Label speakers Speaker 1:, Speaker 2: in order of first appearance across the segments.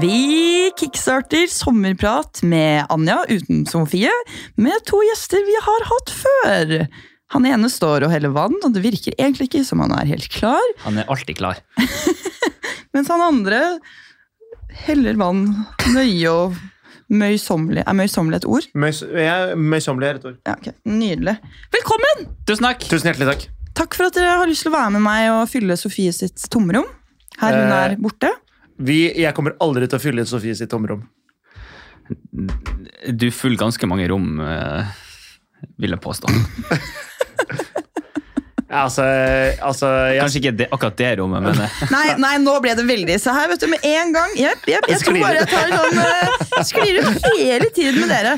Speaker 1: Vi kickstarter sommerprat med Anja uten Sofie, med to gjester vi har hatt før. Han ene står og heller vann, og det virker egentlig ikke som han er helt klar.
Speaker 2: Han er alltid klar.
Speaker 1: Mens han andre heller vann nøye og møysommelig. Er møysommelig et ord?
Speaker 3: Møysommelig er et ord.
Speaker 1: Ja, ok. Nydelig. Velkommen!
Speaker 2: Tusen takk.
Speaker 3: Tusen hjertelig takk.
Speaker 1: Takk for at dere har lyst til å være med meg og fylle Sofie sitt tomrom. Her hun
Speaker 3: Eh.
Speaker 1: er borte.
Speaker 3: Vi, jeg kommer aldri til å fylle Sofie sitt tomrom.
Speaker 2: Du fyller ganske mange rom, eh, vil jeg påstå.
Speaker 3: Altså, altså jeg,
Speaker 2: Kanskje ikke det, akkurat det rommet, men eh,
Speaker 1: Nei, nei, nå ble det veldig Se her, vet du, med en gang. Jepp, jepp, jeg tror
Speaker 3: Sklir
Speaker 1: bare jeg tar sånn eh, Sklir ut hele tiden med dere.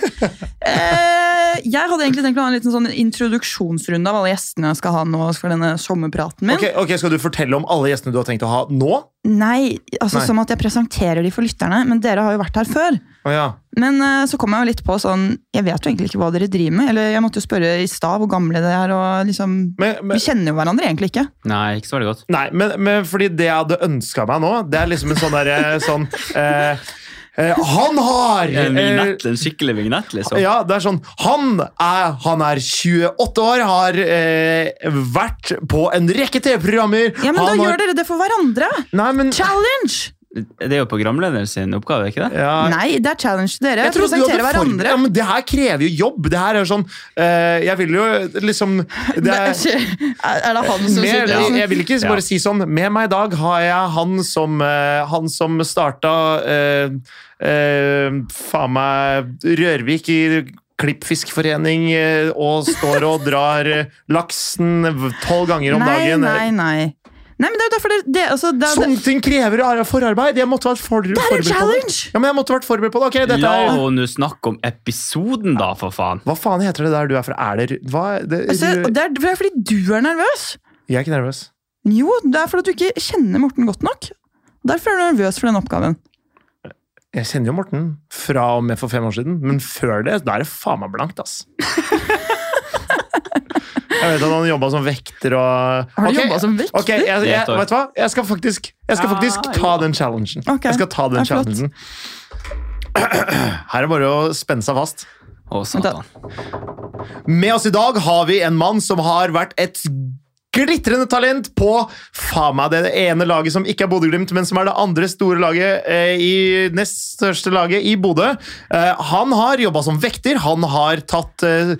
Speaker 1: Eh, jeg hadde egentlig tenkt å ha en liten sånn introduksjonsrunde av alle gjestene jeg skal ha nå for denne sommerpraten min.
Speaker 3: Ok, ok, Skal du fortelle om alle gjestene du har tenkt å ha nå?
Speaker 1: Nei, altså
Speaker 3: Nei.
Speaker 1: som at jeg presenterer de for lytterne, men dere har jo vært her før.
Speaker 3: Å ja.
Speaker 1: Men eh, så kom jeg jo litt på sånn Jeg vet jo egentlig ikke hva dere driver med. Eller jeg måtte jo spørre i stad hvor gamle dere er, og liksom
Speaker 3: men, men,
Speaker 1: Vi kjenner jo hverandre egentlig ikke.
Speaker 2: nei, ikke så veldig godt.
Speaker 3: nei, men, men fordi det jeg hadde ønska meg nå, det er liksom en sånn derre sånn eh, eh, Han har
Speaker 2: En,
Speaker 3: eh,
Speaker 2: vignett, en skikkelig vignett, liksom.
Speaker 3: Ja, det er sånn Han er, han er 28 år, har eh, vært på en rekke TV-programmer
Speaker 1: Ja, men
Speaker 3: han
Speaker 1: da
Speaker 3: har-
Speaker 1: gjør dere det for hverandre!
Speaker 3: Nei, men
Speaker 1: Challenge!
Speaker 2: Det er jo programlederen sin oppgave, ikke det?
Speaker 3: ja,
Speaker 1: Nei, det er challenge til dere.
Speaker 3: Jeg trodde du hadde
Speaker 1: Presentere
Speaker 3: forberedt-
Speaker 1: hverandre.
Speaker 3: Ja, men det her krever jo jobb. Det her er sånn eh, Jeg vil jo liksom det
Speaker 1: Men,
Speaker 3: er,
Speaker 1: unnskyld, er er det han som
Speaker 3: med,
Speaker 1: sitter
Speaker 3: jeg,
Speaker 1: sånn?
Speaker 3: jeg vil ikke
Speaker 2: Ja.
Speaker 3: bare si sånn Med meg i dag har jeg han som eh, Han som starta eh, eh, Faen meg Rørvik i Klippfiskforening eh, og står og drar eh, laksen tolv ganger om
Speaker 1: Nei,
Speaker 3: dagen.
Speaker 1: nei, nei. Nei, men det er jo derfor det, det, altså, det, det
Speaker 3: Sånne ting krever ar- forarbeid! Jeg måtte vært for,
Speaker 1: Det er en
Speaker 3: forberedt på det.
Speaker 1: challenge!
Speaker 3: Ja, men jeg måtte vært forberedt på det. Ok, dette
Speaker 2: La
Speaker 3: er
Speaker 2: henne snakke om episoden, da, for faen!
Speaker 3: Hva faen heter det der du er fra? Er det Hva? Det,
Speaker 1: Altså, og det er det er fordi du er nervøs.
Speaker 3: Jeg er ikke nervøs.
Speaker 1: Jo, det er fordi du ikke kjenner Morten godt nok. Derfor er du nervøs for den oppgaven.
Speaker 3: Jeg kjenner jo Morten fra og med for fem år siden, men før det, da er det faen meg blankt, ass. Jeg vet at han jobba som vekter og
Speaker 1: Har du
Speaker 3: Ok,
Speaker 1: jobbet som vekter? Ah,
Speaker 3: Ok, jeg, jeg,
Speaker 2: Det er et år.
Speaker 3: vet du hva? Jeg skal faktisk, jeg skal
Speaker 2: Ja,
Speaker 3: faktisk ta
Speaker 2: ja.
Speaker 3: den challengen.
Speaker 1: Ok,
Speaker 3: Jeg skal
Speaker 1: det
Speaker 3: ta
Speaker 1: er
Speaker 3: den
Speaker 1: flott.
Speaker 3: challengen. Her er det bare å spenne seg fast.
Speaker 2: Å, satan.
Speaker 3: Med oss i dag har vi en mann som har vært et glitrende talent på faen meg det ene laget som ikke er Bodø-Glimt, men som er det andre store laget eh, i nest største laget i Bodø. Eh, han har jobba som vekter, han har tatt eh,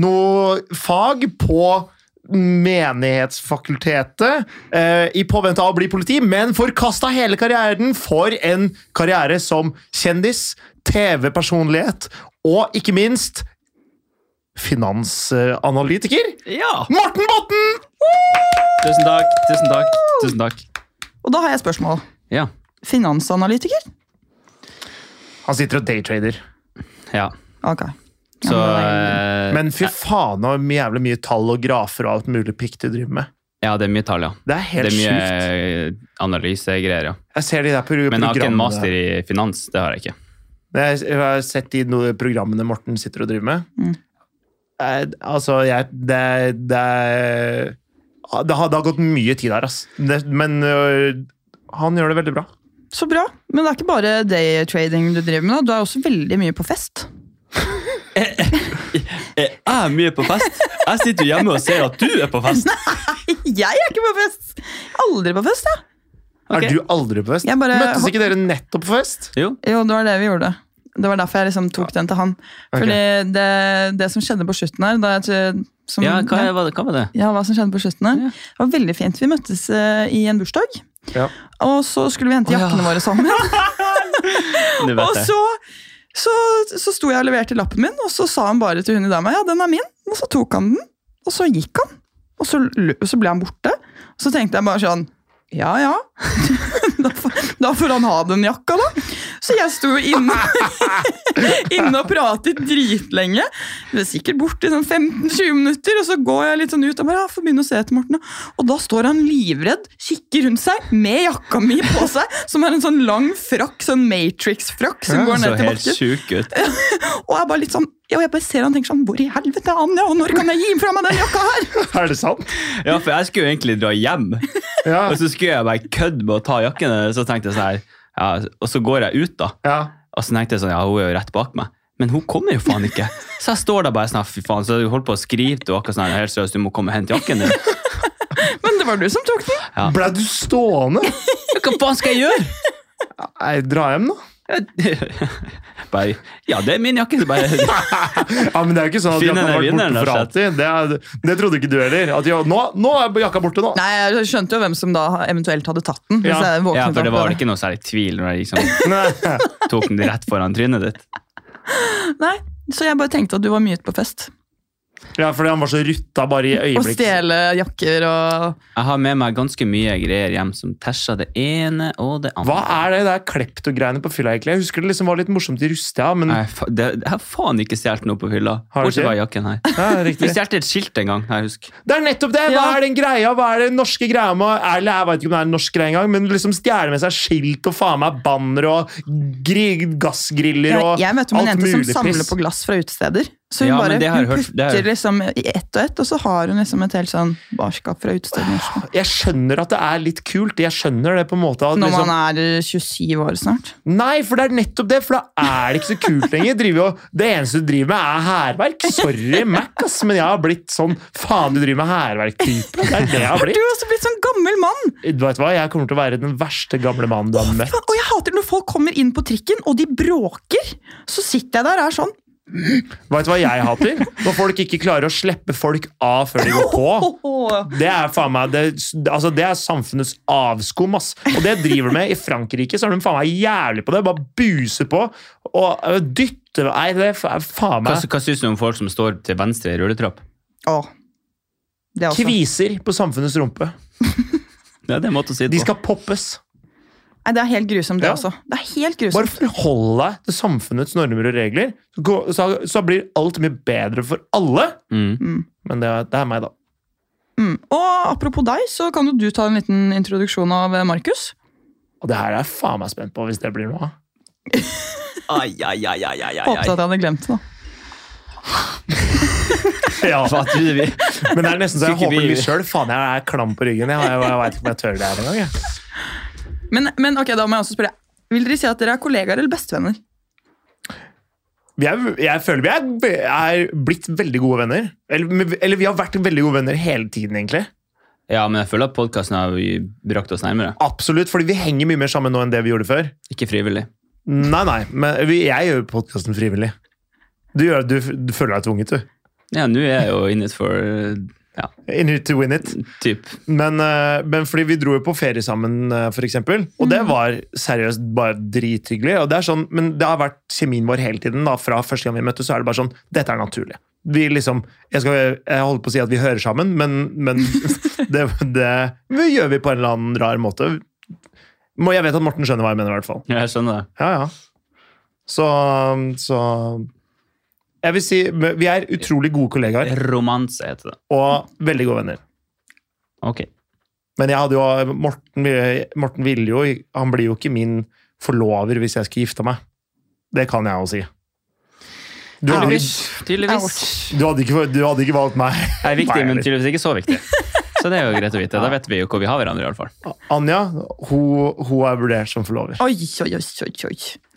Speaker 3: noe fag på Menighetsfakultetet eh, i påvente av å bli politi, men forkasta hele karrieren for en karriere som kjendis, TV-personlighet og ikke minst finansanalytiker
Speaker 2: Ja!
Speaker 3: Morten Botten!
Speaker 2: Tusen takk, tusen takk, tusen takk.
Speaker 1: Og da har jeg spørsmål.
Speaker 2: Ja.
Speaker 1: Finansanalytiker?
Speaker 3: Han sitter og daytrader.
Speaker 2: ja.
Speaker 1: Ok. Ja,
Speaker 2: Så
Speaker 1: men
Speaker 2: eh,
Speaker 3: Men fy faen så jævlig mye tall og grafer og alt mulig pikk du driver med.
Speaker 2: Ja, det er mye tall, ja.
Speaker 3: Det er
Speaker 2: Det
Speaker 3: helt
Speaker 2: er mye
Speaker 3: sjukt.
Speaker 2: eh, analysegreier, ja.
Speaker 3: Jeg ser de der pro
Speaker 2: Men jeg har ikke en
Speaker 3: programmene.
Speaker 2: master i finans. Det har jeg ikke.
Speaker 3: Jeg jeg har sett de no- programmene Morten sitter og driver med.
Speaker 1: Mm.
Speaker 3: Eh, altså, jeg Det, det, er- ah, det, har, det har gått mye tid her, ass. Det, men øh, han gjør det veldig bra.
Speaker 1: Så bra. Men det er ikke bare daytrading du driver med. da. Du er også veldig mye på fest.
Speaker 2: Jeg er mye på fest. Jeg sitter jo hjemme og ser at du er på fest.
Speaker 1: Jeg er ikke på fest! Jeg er Aldri på fest, jeg. Ok.
Speaker 3: Er du aldri på fest?
Speaker 1: Jeg bare-
Speaker 3: Møttes ikke dere nettopp på fest?
Speaker 2: Jo.
Speaker 1: Jo, det var det vi gjorde. Det var derfor jeg liksom tok den til han. Fordi det, det som skjedde på slutten her da jeg, tror- som,
Speaker 2: Ja, hva, hva, hva var det?
Speaker 1: Ja, hva som skjedde på slutten her. Det var veldig fint. Vi møttes eh, i en bursdag.
Speaker 3: Ja.
Speaker 1: Og så skulle vi hente jakkene våre sammen.
Speaker 2: Du
Speaker 1: og
Speaker 2: vet det.
Speaker 1: så, så, så sto jeg og leverte lappen min, og så sa han bare til hun i dama ja, den er min. Og så tok han den, og så gikk han. Og så, lø- så ble han borte. Og så tenkte jeg bare sånn ja, ja. da, får, da får han ha den jakka, da. Så jeg sto jo inne, inne og pratet dritlenge. Det var Sikkert borte i sånn 15-20 minutter, og så går jeg litt sånn ut og bare, ja, får begynne å se etter Morten. da. Og da står han livredd, kikker rundt seg, med jakka mi på seg, som er en sånn lang frakk, sånn Matrix-frakk, som går
Speaker 2: Så
Speaker 1: ned til
Speaker 2: helt
Speaker 1: bakken.
Speaker 2: sjuk ut.
Speaker 1: Og jeg bare litt sånn, ja, og jeg bare ser han og tenker sånn, hvor i helvete er han, ja, og når kan jeg gi fra meg den jakka her?
Speaker 3: Er det sant?
Speaker 2: Ja, for jeg skulle jo egentlig dra hjem,
Speaker 3: Ja.
Speaker 2: og så skulle jeg bare kødde med å ta jakken hennes, og så tenkte jeg sånn her, ja, og så går jeg ut, da.
Speaker 3: ja.
Speaker 2: Og så tenkte jeg sånn, ja, hun er jo rett bak meg. Men hun kommer jo faen ikke. Så jeg står der bare sånn, fy faen, så jeg holdt på å skrive til henne akkurat sånn, helt seriøst, du må komme og hente jakken din.
Speaker 1: Men det var du som tok den.
Speaker 3: Ble du stående?
Speaker 2: Hva faen skal jeg gjøre?
Speaker 3: Nei, dra hjem, da.
Speaker 2: Bare, ja, det er min jakke. Så bare,
Speaker 3: Ja, men Det er jo ikke sånn at
Speaker 2: Finn
Speaker 3: jakka
Speaker 2: den
Speaker 3: har vært
Speaker 2: vinneren,
Speaker 3: borte for
Speaker 2: rett og
Speaker 3: alltid. Det, er, det trodde ikke du heller. At ja, nå, nå er jakka borte, nå.
Speaker 1: Nei, jeg skjønte jo hvem som da eventuelt hadde tatt den. hvis
Speaker 3: Ja.
Speaker 1: jeg våknet
Speaker 2: ja, for det
Speaker 1: opp av
Speaker 2: var vel ikke noe særlig tvil når jeg liksom
Speaker 3: Nei.
Speaker 2: tok den rett foran trynet ditt.
Speaker 1: Nei, så jeg bare tenkte at du var mye ute på fest.
Speaker 3: Ja, fordi han var så rutta bare i
Speaker 1: Og
Speaker 3: øyeblikk.
Speaker 1: stjele jakker og
Speaker 2: Jeg har med meg ganske mye greier hjem som tæsja det ene og det andre.
Speaker 3: Hva er det der kleptogreiene på fylla, egentlig? Jeg husker det liksom var litt morsomt i Rustia, men
Speaker 2: Nei, fa det, jeg har faen ikke stjålet noe på hylla.
Speaker 3: Har du
Speaker 2: Bortsett
Speaker 3: ikke?
Speaker 2: fra jakken her.
Speaker 3: ja,
Speaker 2: Vi
Speaker 3: riktig.
Speaker 2: stjal et skilt en gang. jeg husker.
Speaker 3: Det er nettopp det! Hva
Speaker 1: Ja.
Speaker 3: er den greia? Hva er den norske greia med å- Eller jeg vet ikke om det er en norsk greie engang, men liksom stjele med seg skilt og faen meg banner og gri gassgriller
Speaker 1: Jeg,
Speaker 3: og
Speaker 1: jeg møtte med en jente som samler
Speaker 3: piss.
Speaker 1: på glass fra utesteder. Så hun
Speaker 2: Ja,
Speaker 1: bare
Speaker 2: men det har jeg
Speaker 1: hun
Speaker 2: hørt- det har jeg
Speaker 1: putter liksom i ett og ett, og så har hun liksom et helt sånn barskap fra utesteder. i
Speaker 2: Ah,
Speaker 1: Oslo.
Speaker 3: Jeg skjønner at det er litt kult. Jeg skjønner det på en måte. At
Speaker 1: Når
Speaker 3: liksom,
Speaker 1: man
Speaker 2: sånn-
Speaker 1: er 27 år snart.
Speaker 3: Nei, for det er nettopp det, for da er det ikke så kult lenger. Driver jo- det eneste du driver med, er hærverk. Sorry, Mac, ass, men jeg har blitt sånn faen, du driver med hærverk-type. Det er det jeg har
Speaker 1: Du
Speaker 3: blitt.
Speaker 1: er også blitt sånn gammel mann!
Speaker 3: Du vet hva, Jeg kommer til å være den verste gamle mannen du har møtt.
Speaker 1: Faen, Og jeg hater når folk kommer inn på trikken, og de bråker! Så sitter jeg der og er sånn.
Speaker 3: Vet du hva jeg hater? Når folk ikke klarer å slippe folk av før de går på.
Speaker 1: Åh.
Speaker 3: Det er faen meg, det, altså det er samfunnets avskum, ass. Og det driver de med i Frankrike, så er de faen meg jævlig på det. Bare buser på og øh, dytter Nei, det er faen
Speaker 2: Hva,
Speaker 3: meg
Speaker 2: hva syns du om folk som står til venstre i rulletrapp?
Speaker 1: Åh. Det også.
Speaker 3: Kviser på samfunnets rumpe.
Speaker 2: Ja, det er en måte å si
Speaker 3: De
Speaker 2: det på.
Speaker 3: skal poppes.
Speaker 1: Nei, det er helt grusomt, det
Speaker 3: Ja.
Speaker 1: også. Det er helt
Speaker 3: Bare
Speaker 1: grusomt.
Speaker 3: forhold deg til samfunnets normer og regler, så, gå- så, så blir alt mye bedre for alle.
Speaker 2: Mm.
Speaker 3: Men det, er- det er meg, da.
Speaker 1: Mm. Og apropos deg, så kan jo du ta en liten introduksjon av eh, Markus.
Speaker 3: Og det her er jeg faen meg spent på hvis det blir noe av.
Speaker 2: Ai, ai, ai, ai, ai, ai.
Speaker 1: Håpet at jeg hadde glemt det. da.
Speaker 3: Ja,
Speaker 2: Hva trodde vi?
Speaker 3: men det er nesten så jeg
Speaker 2: Skulle ikke
Speaker 3: håper
Speaker 2: vi-
Speaker 3: litt sjøl. Faen, jeg er klam på ryggen. Jeg, har- jeg, jeg veit ikke om jeg tør det her engang. jeg.
Speaker 1: Men, men ok, da må jeg også spørre. Vil dere si at dere er kollegaer eller bestevenner?
Speaker 3: Vi er- Jeg føler vi er, er blitt veldig gode venner. Eller, eller vi har vært veldig gode venner hele tiden, egentlig.
Speaker 2: Ja, men jeg føler at podkasten har jo brakt oss nærmere.
Speaker 3: Absolutt, fordi vi henger mye mer sammen nå enn det vi gjorde før.
Speaker 2: Ikke frivillig.
Speaker 3: Nei, nei, men vi, jeg gjør podkasten frivillig. Du, gjør, du, du føler deg tvunget, du.
Speaker 2: Ja, nå er jeg jo in it for eh, ja,
Speaker 3: In it to win it.
Speaker 2: typ.
Speaker 3: Men, eh, men fordi vi dro jo på ferie sammen, eh, for eksempel, og det var seriøst bare drithyggelig. Og det er sånn, men det har vært kjemien vår hele tiden. da, Fra første gang vi møttes, så er det bare sånn Dette er naturlig. Vi liksom, Jeg, skal, jeg holder på å si at vi hører sammen, men, men det, det, det gjør vi på en eller annen rar måte. Må- Jeg vet at Morten skjønner hva jeg mener, i hvert fall.
Speaker 2: Ja, Jeg skjønner det.
Speaker 3: Ja, ja. Så, så Jeg vil si vi er utrolig gode kollegaer
Speaker 2: Romanse heter det.
Speaker 3: og veldig gode venner.
Speaker 2: Ok.
Speaker 3: Men jeg hadde jo Morten, Morten ville jo Han blir jo ikke min forlover hvis jeg skulle gifte meg. Det kan jeg jo si. Du hadde, ikke,
Speaker 2: Tydeligvis.
Speaker 3: du hadde, ikke, du hadde ikke valgt meg.
Speaker 2: Det er viktig,
Speaker 3: Nei,
Speaker 2: men
Speaker 3: eller-
Speaker 2: tydeligvis ikke så viktig. Så det er jo greit å vite. Da vet vi jo hvor vi har hverandre, i alle fall.
Speaker 3: Anja hun, hun er vurdert som forlover.
Speaker 1: Oi, oi, oi, oi, oi.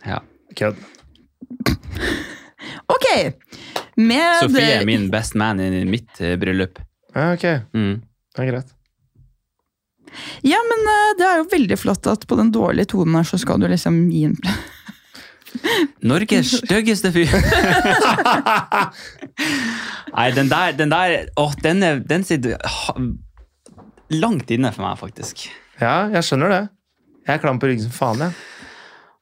Speaker 2: Ja.
Speaker 3: Kødd.
Speaker 1: Ok, med
Speaker 2: Sofie er
Speaker 1: det-
Speaker 2: min best man i mitt eh, bryllup.
Speaker 3: Ja, ok, det
Speaker 2: Mm.
Speaker 3: er greit.
Speaker 1: Ja, men eh, det er jo veldig flott at på den dårlige tonen her, så skal du liksom gi en
Speaker 2: Norges styggeste fyr. Nei, den der, den der åh, den, er, den sitter ha, langt inne for meg, faktisk.
Speaker 3: Ja, jeg skjønner det. Jeg er klam på ryggen som faen, jeg.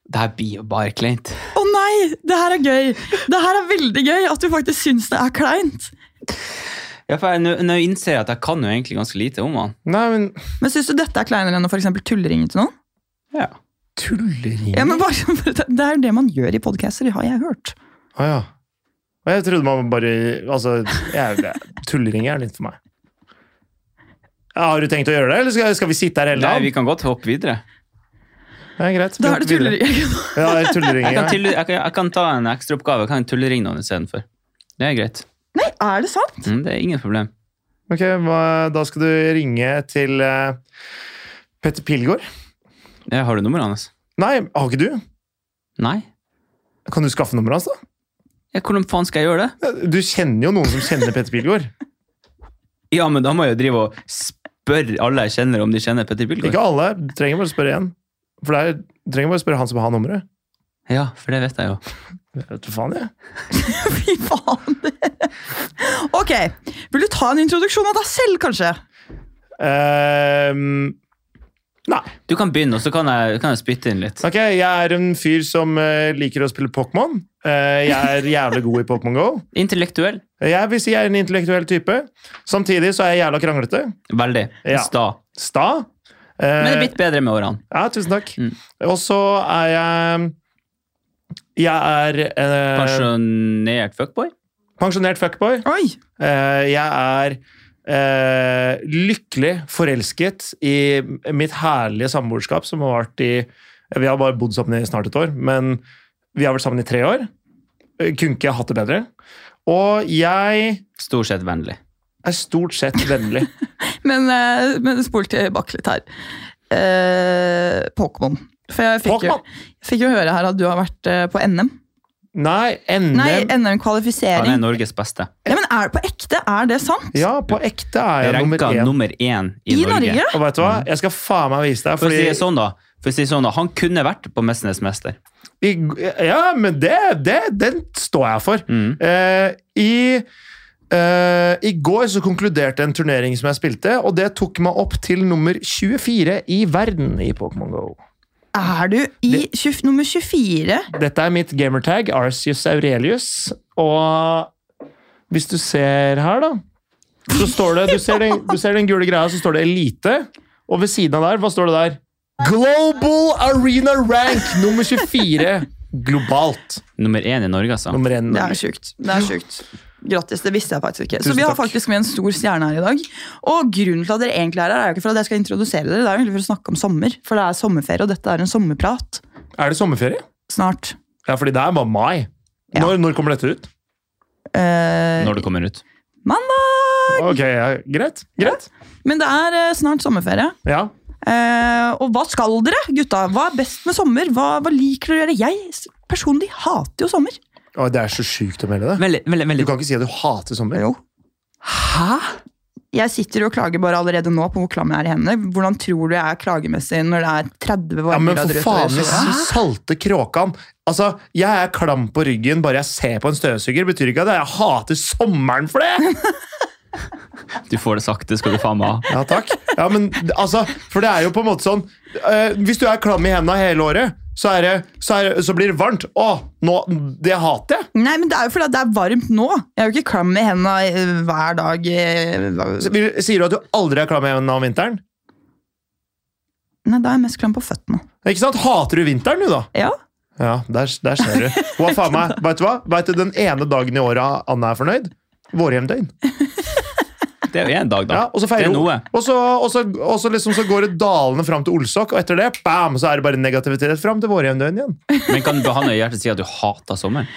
Speaker 2: Det her blir jo bare kleint.
Speaker 1: Å nei, det her er gøy! Det her er veldig gøy at du faktisk syns det er kleint.
Speaker 2: Ja, for jeg, nå- nå innser jeg at jeg kan jo egentlig ganske lite om han.
Speaker 3: Nei, men
Speaker 1: Men syns du dette er kleinere enn å for eksempel tulleringe til noen?
Speaker 2: Ja.
Speaker 3: Tullering?
Speaker 1: Ja, men bare, sånn det er jo det man gjør i podcaster, har jeg hørt.
Speaker 3: Å ja. Og jeg trodde man bare Altså, jeg, det- tullering er litt for meg. Ja, har du tenkt å gjøre det, eller skal, skal vi sitte her hele
Speaker 2: Nei, vi
Speaker 3: dagen?
Speaker 2: kan godt hoppe videre.
Speaker 3: Ja, greit.
Speaker 1: Da er det
Speaker 3: Videre.
Speaker 1: tulleringe.
Speaker 3: Ja, det er tullering.
Speaker 2: Jeg kan,
Speaker 3: Ja.
Speaker 2: tulle- jeg kan, jeg kan ta en ekstraoppgave. Jeg kan tulleringe noen istedenfor. Det er greit.
Speaker 1: Nei, er det sant?
Speaker 2: Mm, det er ingen problem.
Speaker 3: Ok, hva, Da skal du ringe til eh, Petter Pilgaard.
Speaker 2: Ja, har du nummeret hans?
Speaker 3: Nei, har ikke du?
Speaker 2: Nei?
Speaker 3: Kan du skaffe nummeret hans, da?
Speaker 2: Ja, hvordan faen skal jeg gjøre det?
Speaker 3: Du kjenner jo noen som kjenner Petter Pilgaard.
Speaker 2: Ja, men da må jeg jo drive og spørre alle jeg kjenner om de kjenner Petter
Speaker 3: Ikke
Speaker 2: Pilgaard.
Speaker 3: alle. Du trenger bare å spørre én. For det er, du trenger bare å spørre han som har nummeret.
Speaker 2: Ja, for det vet jeg jo.
Speaker 3: Jeg vet hva faen, jeg.
Speaker 1: Fy faen. Ok, vil du ta en introduksjon av deg selv, kanskje?
Speaker 3: Ehm, nei.
Speaker 2: Du kan begynne, og så kan jeg, kan jeg spytte inn litt.
Speaker 3: Ok, jeg er en fyr som eh, liker å spille Pokémon. Eh, jeg er jævlig god i Pokémon GO.
Speaker 2: Intellektuell.
Speaker 3: Jeg vil si jeg er en intellektuell type. Samtidig så er jeg jævla kranglete.
Speaker 2: Veldig.
Speaker 3: Ja.
Speaker 2: Sta.
Speaker 3: Sta.
Speaker 2: Men det er
Speaker 3: Eh,
Speaker 2: blitt bedre med årene.
Speaker 3: ja, tusen takk.
Speaker 2: Mm.
Speaker 3: Og så er jeg Jeg er eh,
Speaker 2: Pensjonert fuckboy?
Speaker 3: pensjonert fuckboy.
Speaker 1: Oi,
Speaker 3: Eh, jeg er eh, lykkelig forelsket i mitt herlige samboerskap som har vært i Vi har bare bodd sammen i snart et år, men vi har vært sammen i tre år. Eh, Kunne ikke hatt det bedre. Og jeg
Speaker 2: Stort sett vennlig.
Speaker 3: er stort sett vennlig.
Speaker 1: men, eh, men spol tilbake litt her. Eh, Pokémon. For jeg fikk jo,
Speaker 3: Pokémon?
Speaker 1: fikk jo høre her at du har vært eh, på NM.
Speaker 3: Nei, NM
Speaker 1: Nei,
Speaker 2: Han er
Speaker 1: NM-kvalifisering.
Speaker 2: Norges beste.
Speaker 1: Ja, men er det på ekte? Er det sant?
Speaker 3: Ja, på ekte er jeg nummer
Speaker 2: Ranka
Speaker 3: én.
Speaker 2: nummer én i,
Speaker 1: I Norge?
Speaker 3: Og vet du hva? Jeg skal faen meg vise deg.
Speaker 2: For å si
Speaker 3: Fordi,
Speaker 2: det sånn, da. For å si det sånn da, Han kunne vært på Mesternes mester.
Speaker 3: i, ja, men det, det, den står jeg for.
Speaker 2: Mm.
Speaker 3: Eh, I eh, I går så konkluderte en turnering som jeg spilte, og det tok meg opp til nummer 24 i verden i Pokémon GO.
Speaker 1: Er du i tjue- nummer 24?
Speaker 3: Dette er mitt gamertag, Arcius Aurelius, og hvis du ser her, da Så står det Du ser den, du ser den gule greia, så står det Elite, og ved siden av der, hva står det der? Global Arena Rank nummer 24 globalt.
Speaker 2: Nummer én i Norge, altså.
Speaker 3: Nummer én.
Speaker 1: Det er sjukt. Det er sjukt. Grattis, det visste jeg faktisk ikke. Så
Speaker 3: Tusen
Speaker 1: vi har
Speaker 3: takk.
Speaker 1: faktisk med en stor stjerne her i dag. Og grunnen til at dere egentlig er her, er jo ikke for at jeg skal introdusere dere, det er jo egentlig for å snakke om sommer. For det er sommerferie, og dette er en sommerprat.
Speaker 3: Er det sommerferie?
Speaker 1: Snart.
Speaker 3: Ja, fordi det er bare mai.
Speaker 1: Ja.
Speaker 3: Når, når kommer dette ut?
Speaker 1: Eh,
Speaker 2: Når det kommer ut.
Speaker 1: mandag!
Speaker 3: Ok, ja, Greit. greit.
Speaker 1: Men det er eh, snart sommerferie.
Speaker 3: Ja,
Speaker 1: Eh, og hva skal dere, gutta? Hva er best med sommer? Hva, hva liker dere å gjøre? Jeg s- personlig hater jo sommer.
Speaker 3: Å, det er så sjukt å melde det.
Speaker 2: Veldig, veldig,
Speaker 3: Du
Speaker 2: veldig.
Speaker 3: kan ikke si at du hater sommer.
Speaker 1: Hæ? Jeg sitter og klager bare allerede nå på hvor klam jeg er i hendene. Hvordan tror du jeg er klagemessig når det er 30
Speaker 3: Ja, men
Speaker 1: varmegrader
Speaker 3: for
Speaker 1: ute? og
Speaker 3: faen,
Speaker 1: jeg
Speaker 3: jeg
Speaker 1: sover?
Speaker 3: s- salte kråkan. Altså, Jeg er klam på ryggen bare jeg ser på en støvsuger. Betyr ikke at jeg hater sommeren for det!
Speaker 2: Du får det sakte, skal du faen meg ha.
Speaker 3: Ja, takk. Ja, men altså, For det er jo på en måte sånn eh, Hvis du er klam i hendene hele året, så, er det, så, er det, så blir det varmt. Å, nå, det hater jeg!
Speaker 1: Nei, men Det er jo fordi at det er varmt nå. Jeg er jo ikke klam i hendene eh, hver dag. eh, hva-
Speaker 3: Så vil- Sier du at du aldri er klam i hendene om vinteren?
Speaker 1: Nei, Da er jeg mest klam på føttene.
Speaker 3: Ikke sant? Hater du vinteren, du, da?
Speaker 1: Ja,
Speaker 3: Ja, der, der ser du. Hva faen meg, vet du hva? Vet du den ene dagen i året Anna er fornøyd? Vårhjemdøgn.
Speaker 2: Det er jo én dag, da.
Speaker 3: Ja, og så
Speaker 2: det
Speaker 3: feirer
Speaker 2: er
Speaker 3: hun.
Speaker 2: noe.
Speaker 3: Og så, og så, og så, liksom, så går det dalende fram til Olsok, og etter det bam, så er det bare negativitet fram til vårhjemdøgn igjen.
Speaker 2: Men kan Behanne Hjertet si at du hater sommer?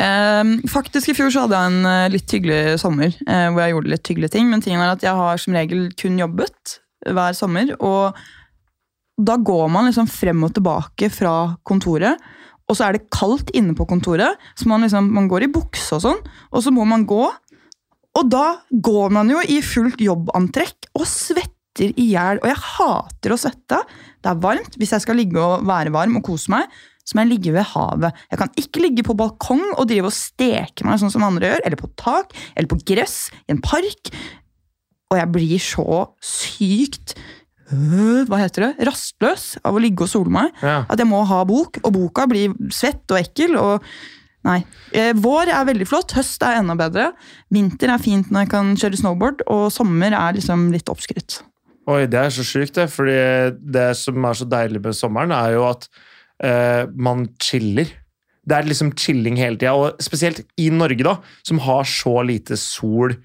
Speaker 1: Ehm, faktisk I fjor så hadde jeg en eh, litt hyggelig sommer, eh, hvor jeg gjorde litt hyggelige ting. Men tingen er at jeg har som regel kun jobbet hver sommer. Og da går man liksom frem og tilbake fra kontoret, og så er det kaldt inne på kontoret. Så man, liksom, man går i bukse og sånn, og så må man gå. Og da går man jo i fullt jobbantrekk og svetter svetter i hjel. Og jeg hater å svette. Det er varmt. Hvis jeg skal ligge og være varm og kose meg, så må jeg ligge ved havet. Jeg kan ikke ligge på balkong og drive og steke meg sånn som andre gjør. Eller på tak, eller på gress, i en park. Og jeg blir så sykt øh, hva heter det? Rastløs av å ligge og sole meg.
Speaker 3: Ja.
Speaker 1: At jeg må ha bok, og boka blir svett og ekkel. og Nei. Eh, Vår er veldig flott, høst er enda bedre. Vinter er fint når jeg kan kjøre snowboard, og sommer er liksom litt oppskrytt.
Speaker 3: Oi, det er så sjukt, det. Fordi det som er så deilig med sommeren, er jo at eh, man chiller. Det er liksom chilling hele tida, og spesielt i Norge, da, som har så lite sol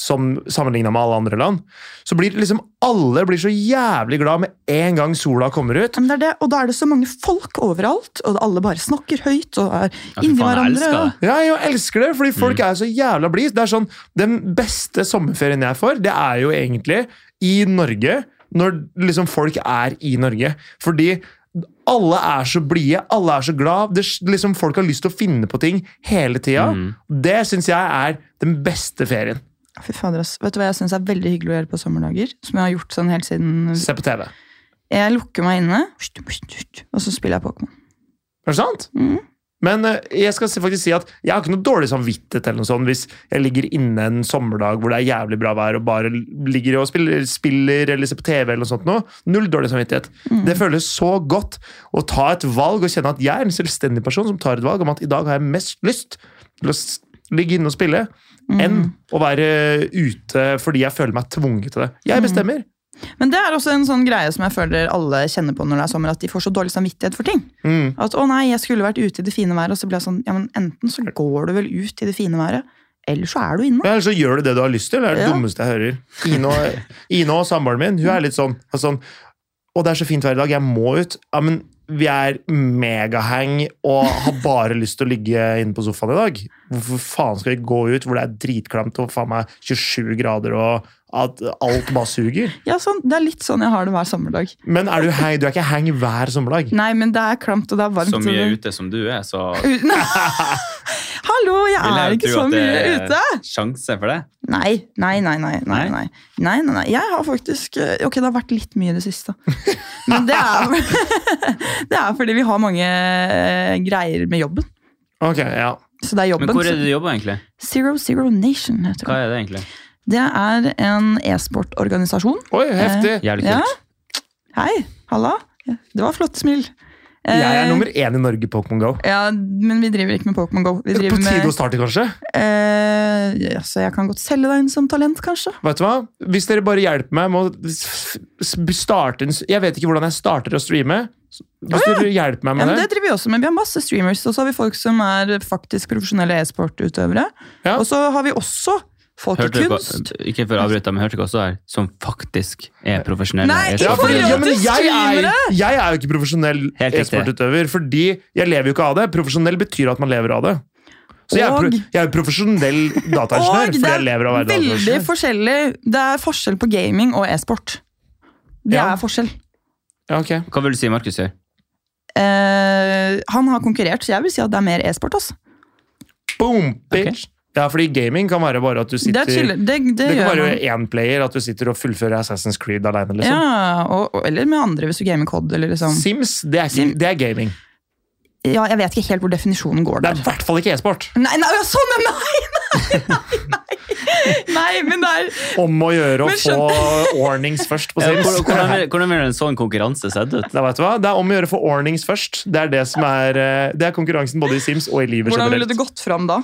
Speaker 3: som sammenligna med alle andre land, så blir det liksom alle blir så jævlig glad med en gang sola kommer ut.
Speaker 1: Men det er det, og da er det så mange folk overalt, og alle bare snakker høyt og er
Speaker 2: Ja, fy
Speaker 1: inni
Speaker 2: faen, jeg
Speaker 1: hverandre.
Speaker 2: elsker det.
Speaker 3: Ja, jeg elsker det, fordi folk er så jævla blid. Det er sånn, Den beste sommerferien jeg får, det er jo egentlig i Norge, når liksom folk er i Norge. Fordi alle er så blide, alle er så glad. Det, er liksom Folk har lyst til å finne på ting hele tida. Det syns jeg er den beste ferien.
Speaker 1: Fy fader, ass. Vet du hva jeg syns er veldig hyggelig å gjøre på sommerdager? Som jeg har gjort sånn helt siden
Speaker 3: Se på TV. Er
Speaker 1: Jeg lukker meg inne, og så spiller jeg Pokémon.
Speaker 3: det sant? Men eh, jeg skal si- faktisk si at jeg har ikke noe dårlig samvittighet eller noe sånt hvis jeg ligger inne en sommerdag hvor det er jævlig bra vær og bare ligger og spiller, spiller eller ser på TV eller noe sånt. Noe. Null dårlig samvittighet. Det føles så godt å ta et valg og kjenne at jeg er en selvstendig person som tar et valg om at i dag har jeg mest lyst til å s- ligge inne og spille enn å være eh, ute fordi jeg føler meg tvunget til det. Jeg bestemmer.
Speaker 1: Men det er også en sånn greie som jeg føler alle kjenner på når det er sommer, at de får så dårlig samvittighet for ting.
Speaker 3: Mm.
Speaker 1: At 'å nei, jeg skulle vært ute i det fine været', og så blir jeg sånn ja, men enten så går du vel ut i det fine været, eller så er du inne.
Speaker 3: Ja, Eller så gjør du det du har lyst til. Det er det
Speaker 1: Ja.
Speaker 3: dummeste jeg hører. Ine og, Ine og samboeren min hun er litt sånn, altså sånn Å, det er så fint vær i dag. Jeg må ut. Ja, men vi er megahang og har bare lyst til å ligge inne på sofaen i dag. Hvorfor faen skal vi gå ut hvor det er dritklamt og faen meg 27 grader og at alt bare suger?
Speaker 1: Ja, sånn, Det er litt sånn jeg har det hver sommerdag.
Speaker 3: Men er du hang? Du er ikke hang hver sommerdag.
Speaker 1: Nei, men det er klamt, og det er varmt.
Speaker 2: Så
Speaker 1: og
Speaker 2: mye
Speaker 1: det-
Speaker 2: ute som du er, så
Speaker 1: Ut- Nei. Hallo, jeg
Speaker 2: vil
Speaker 1: er
Speaker 2: jeg jo
Speaker 1: ikke
Speaker 2: tro
Speaker 1: så
Speaker 2: at det
Speaker 1: mye
Speaker 2: er
Speaker 1: ute!
Speaker 2: Sjanse for det.
Speaker 1: Nei, nei, nei, nei, nei,
Speaker 2: Nei?
Speaker 1: nei. nei, nei, nei. Jeg har faktisk eh, Ok, det har vært litt mye i det siste. Men det er, det er fordi vi har mange eh, greier med jobben.
Speaker 3: Ok, ja.
Speaker 1: Så det er jobben.
Speaker 2: Men hvor er
Speaker 1: så-
Speaker 2: det du jobber, egentlig?
Speaker 1: Zero Zero Nation heter
Speaker 2: Hva
Speaker 1: det.
Speaker 2: er det egentlig?
Speaker 1: Det er en e-sportorganisasjon.
Speaker 3: Oi, heftig.
Speaker 2: Jævlig kult.
Speaker 1: Hei, halla. Ja, Det var flott smil. Eh,
Speaker 3: Jeg er nummer én i Norge i Pokémon Go.
Speaker 1: Ja, men vi driver ikke med Pokémon Go. Vi
Speaker 3: På
Speaker 1: driver
Speaker 3: tide å
Speaker 1: med...
Speaker 3: starte, kanskje?
Speaker 1: Eh, ja, så jeg kan godt selge deg inn som talent, kanskje.
Speaker 3: Vet du hva? Hvis dere bare hjelper meg med å s- s- starte en s- Jeg vet ikke hvordan jeg starter å streame. Så Hvis dere hjelper meg
Speaker 1: Ah! Ja,
Speaker 3: med
Speaker 1: men det
Speaker 3: det,
Speaker 1: driver vi også med. Vi har masse streamers, og så har vi folk som er faktisk profesjonelle e-sportutøvere.
Speaker 3: Ja.
Speaker 1: Og så har vi også folk
Speaker 2: Hørte
Speaker 1: i
Speaker 2: du på,
Speaker 1: kunst.
Speaker 2: ikke for å avbryte, men hørte du ikke også her, som faktisk er profesjonelle?
Speaker 1: Nei,
Speaker 2: Jeg skal
Speaker 1: i
Speaker 2: ikke-
Speaker 1: forhold-
Speaker 3: ja, men jeg, er,
Speaker 1: streamere!
Speaker 3: jeg er jo ikke profesjonell
Speaker 2: Helt riktig.
Speaker 3: e-sportutøver, fordi jeg lever jo ikke av det. Profesjonell betyr at man lever av det. Så jeg er, pro
Speaker 1: Og-
Speaker 3: jeg er jo profesjonell dataingeniør
Speaker 1: Og
Speaker 3: fordi
Speaker 1: det
Speaker 3: jeg lever av å
Speaker 1: er
Speaker 3: være
Speaker 1: veldig
Speaker 3: dataingeniør.
Speaker 1: forskjellig Det er forskjell på gaming og e-sport. Det
Speaker 3: Ja.
Speaker 1: er forskjell.
Speaker 3: Ja, ok.
Speaker 2: Hva vil du si Markus gjør?
Speaker 1: Eh, han har konkurrert, så jeg vil si at det er mer e-sport. Altså.
Speaker 3: Boom, bitch! Ja, fordi gaming kan være bare at du
Speaker 1: Det,
Speaker 3: sitter
Speaker 1: er chill- det, det,
Speaker 3: Det kan
Speaker 1: gjør
Speaker 3: være
Speaker 1: man.
Speaker 3: én player, at du sitter og fullfører Assassin's Creed alene. Liksom.
Speaker 1: Ja, og, og, eller med andre, hvis du gamer COD. Eller liksom.
Speaker 3: Sims, det er,
Speaker 1: Sim-
Speaker 3: det er gaming.
Speaker 1: Ja, jeg vet ikke helt hvor definisjonen går
Speaker 3: Det er
Speaker 1: der.
Speaker 3: i hvert fall ikke e-sport.
Speaker 1: Nei, nei, ja, sånn, ja, nei, nei, nei, nei, men det er
Speaker 3: om å gjøre å
Speaker 1: Men
Speaker 3: få ordnings først på
Speaker 2: Ja,
Speaker 3: Sims.
Speaker 2: hvordan- hvordan vil- hvordan vil en sånn konkurranse sett ut?
Speaker 3: Da vet du hva? Det er om å gjøre å få ordnings først. Det er, det, som er, eh, det er konkurransen både i Sims og i livet
Speaker 1: Hvordan ville
Speaker 3: generelt.
Speaker 1: det gått fram da?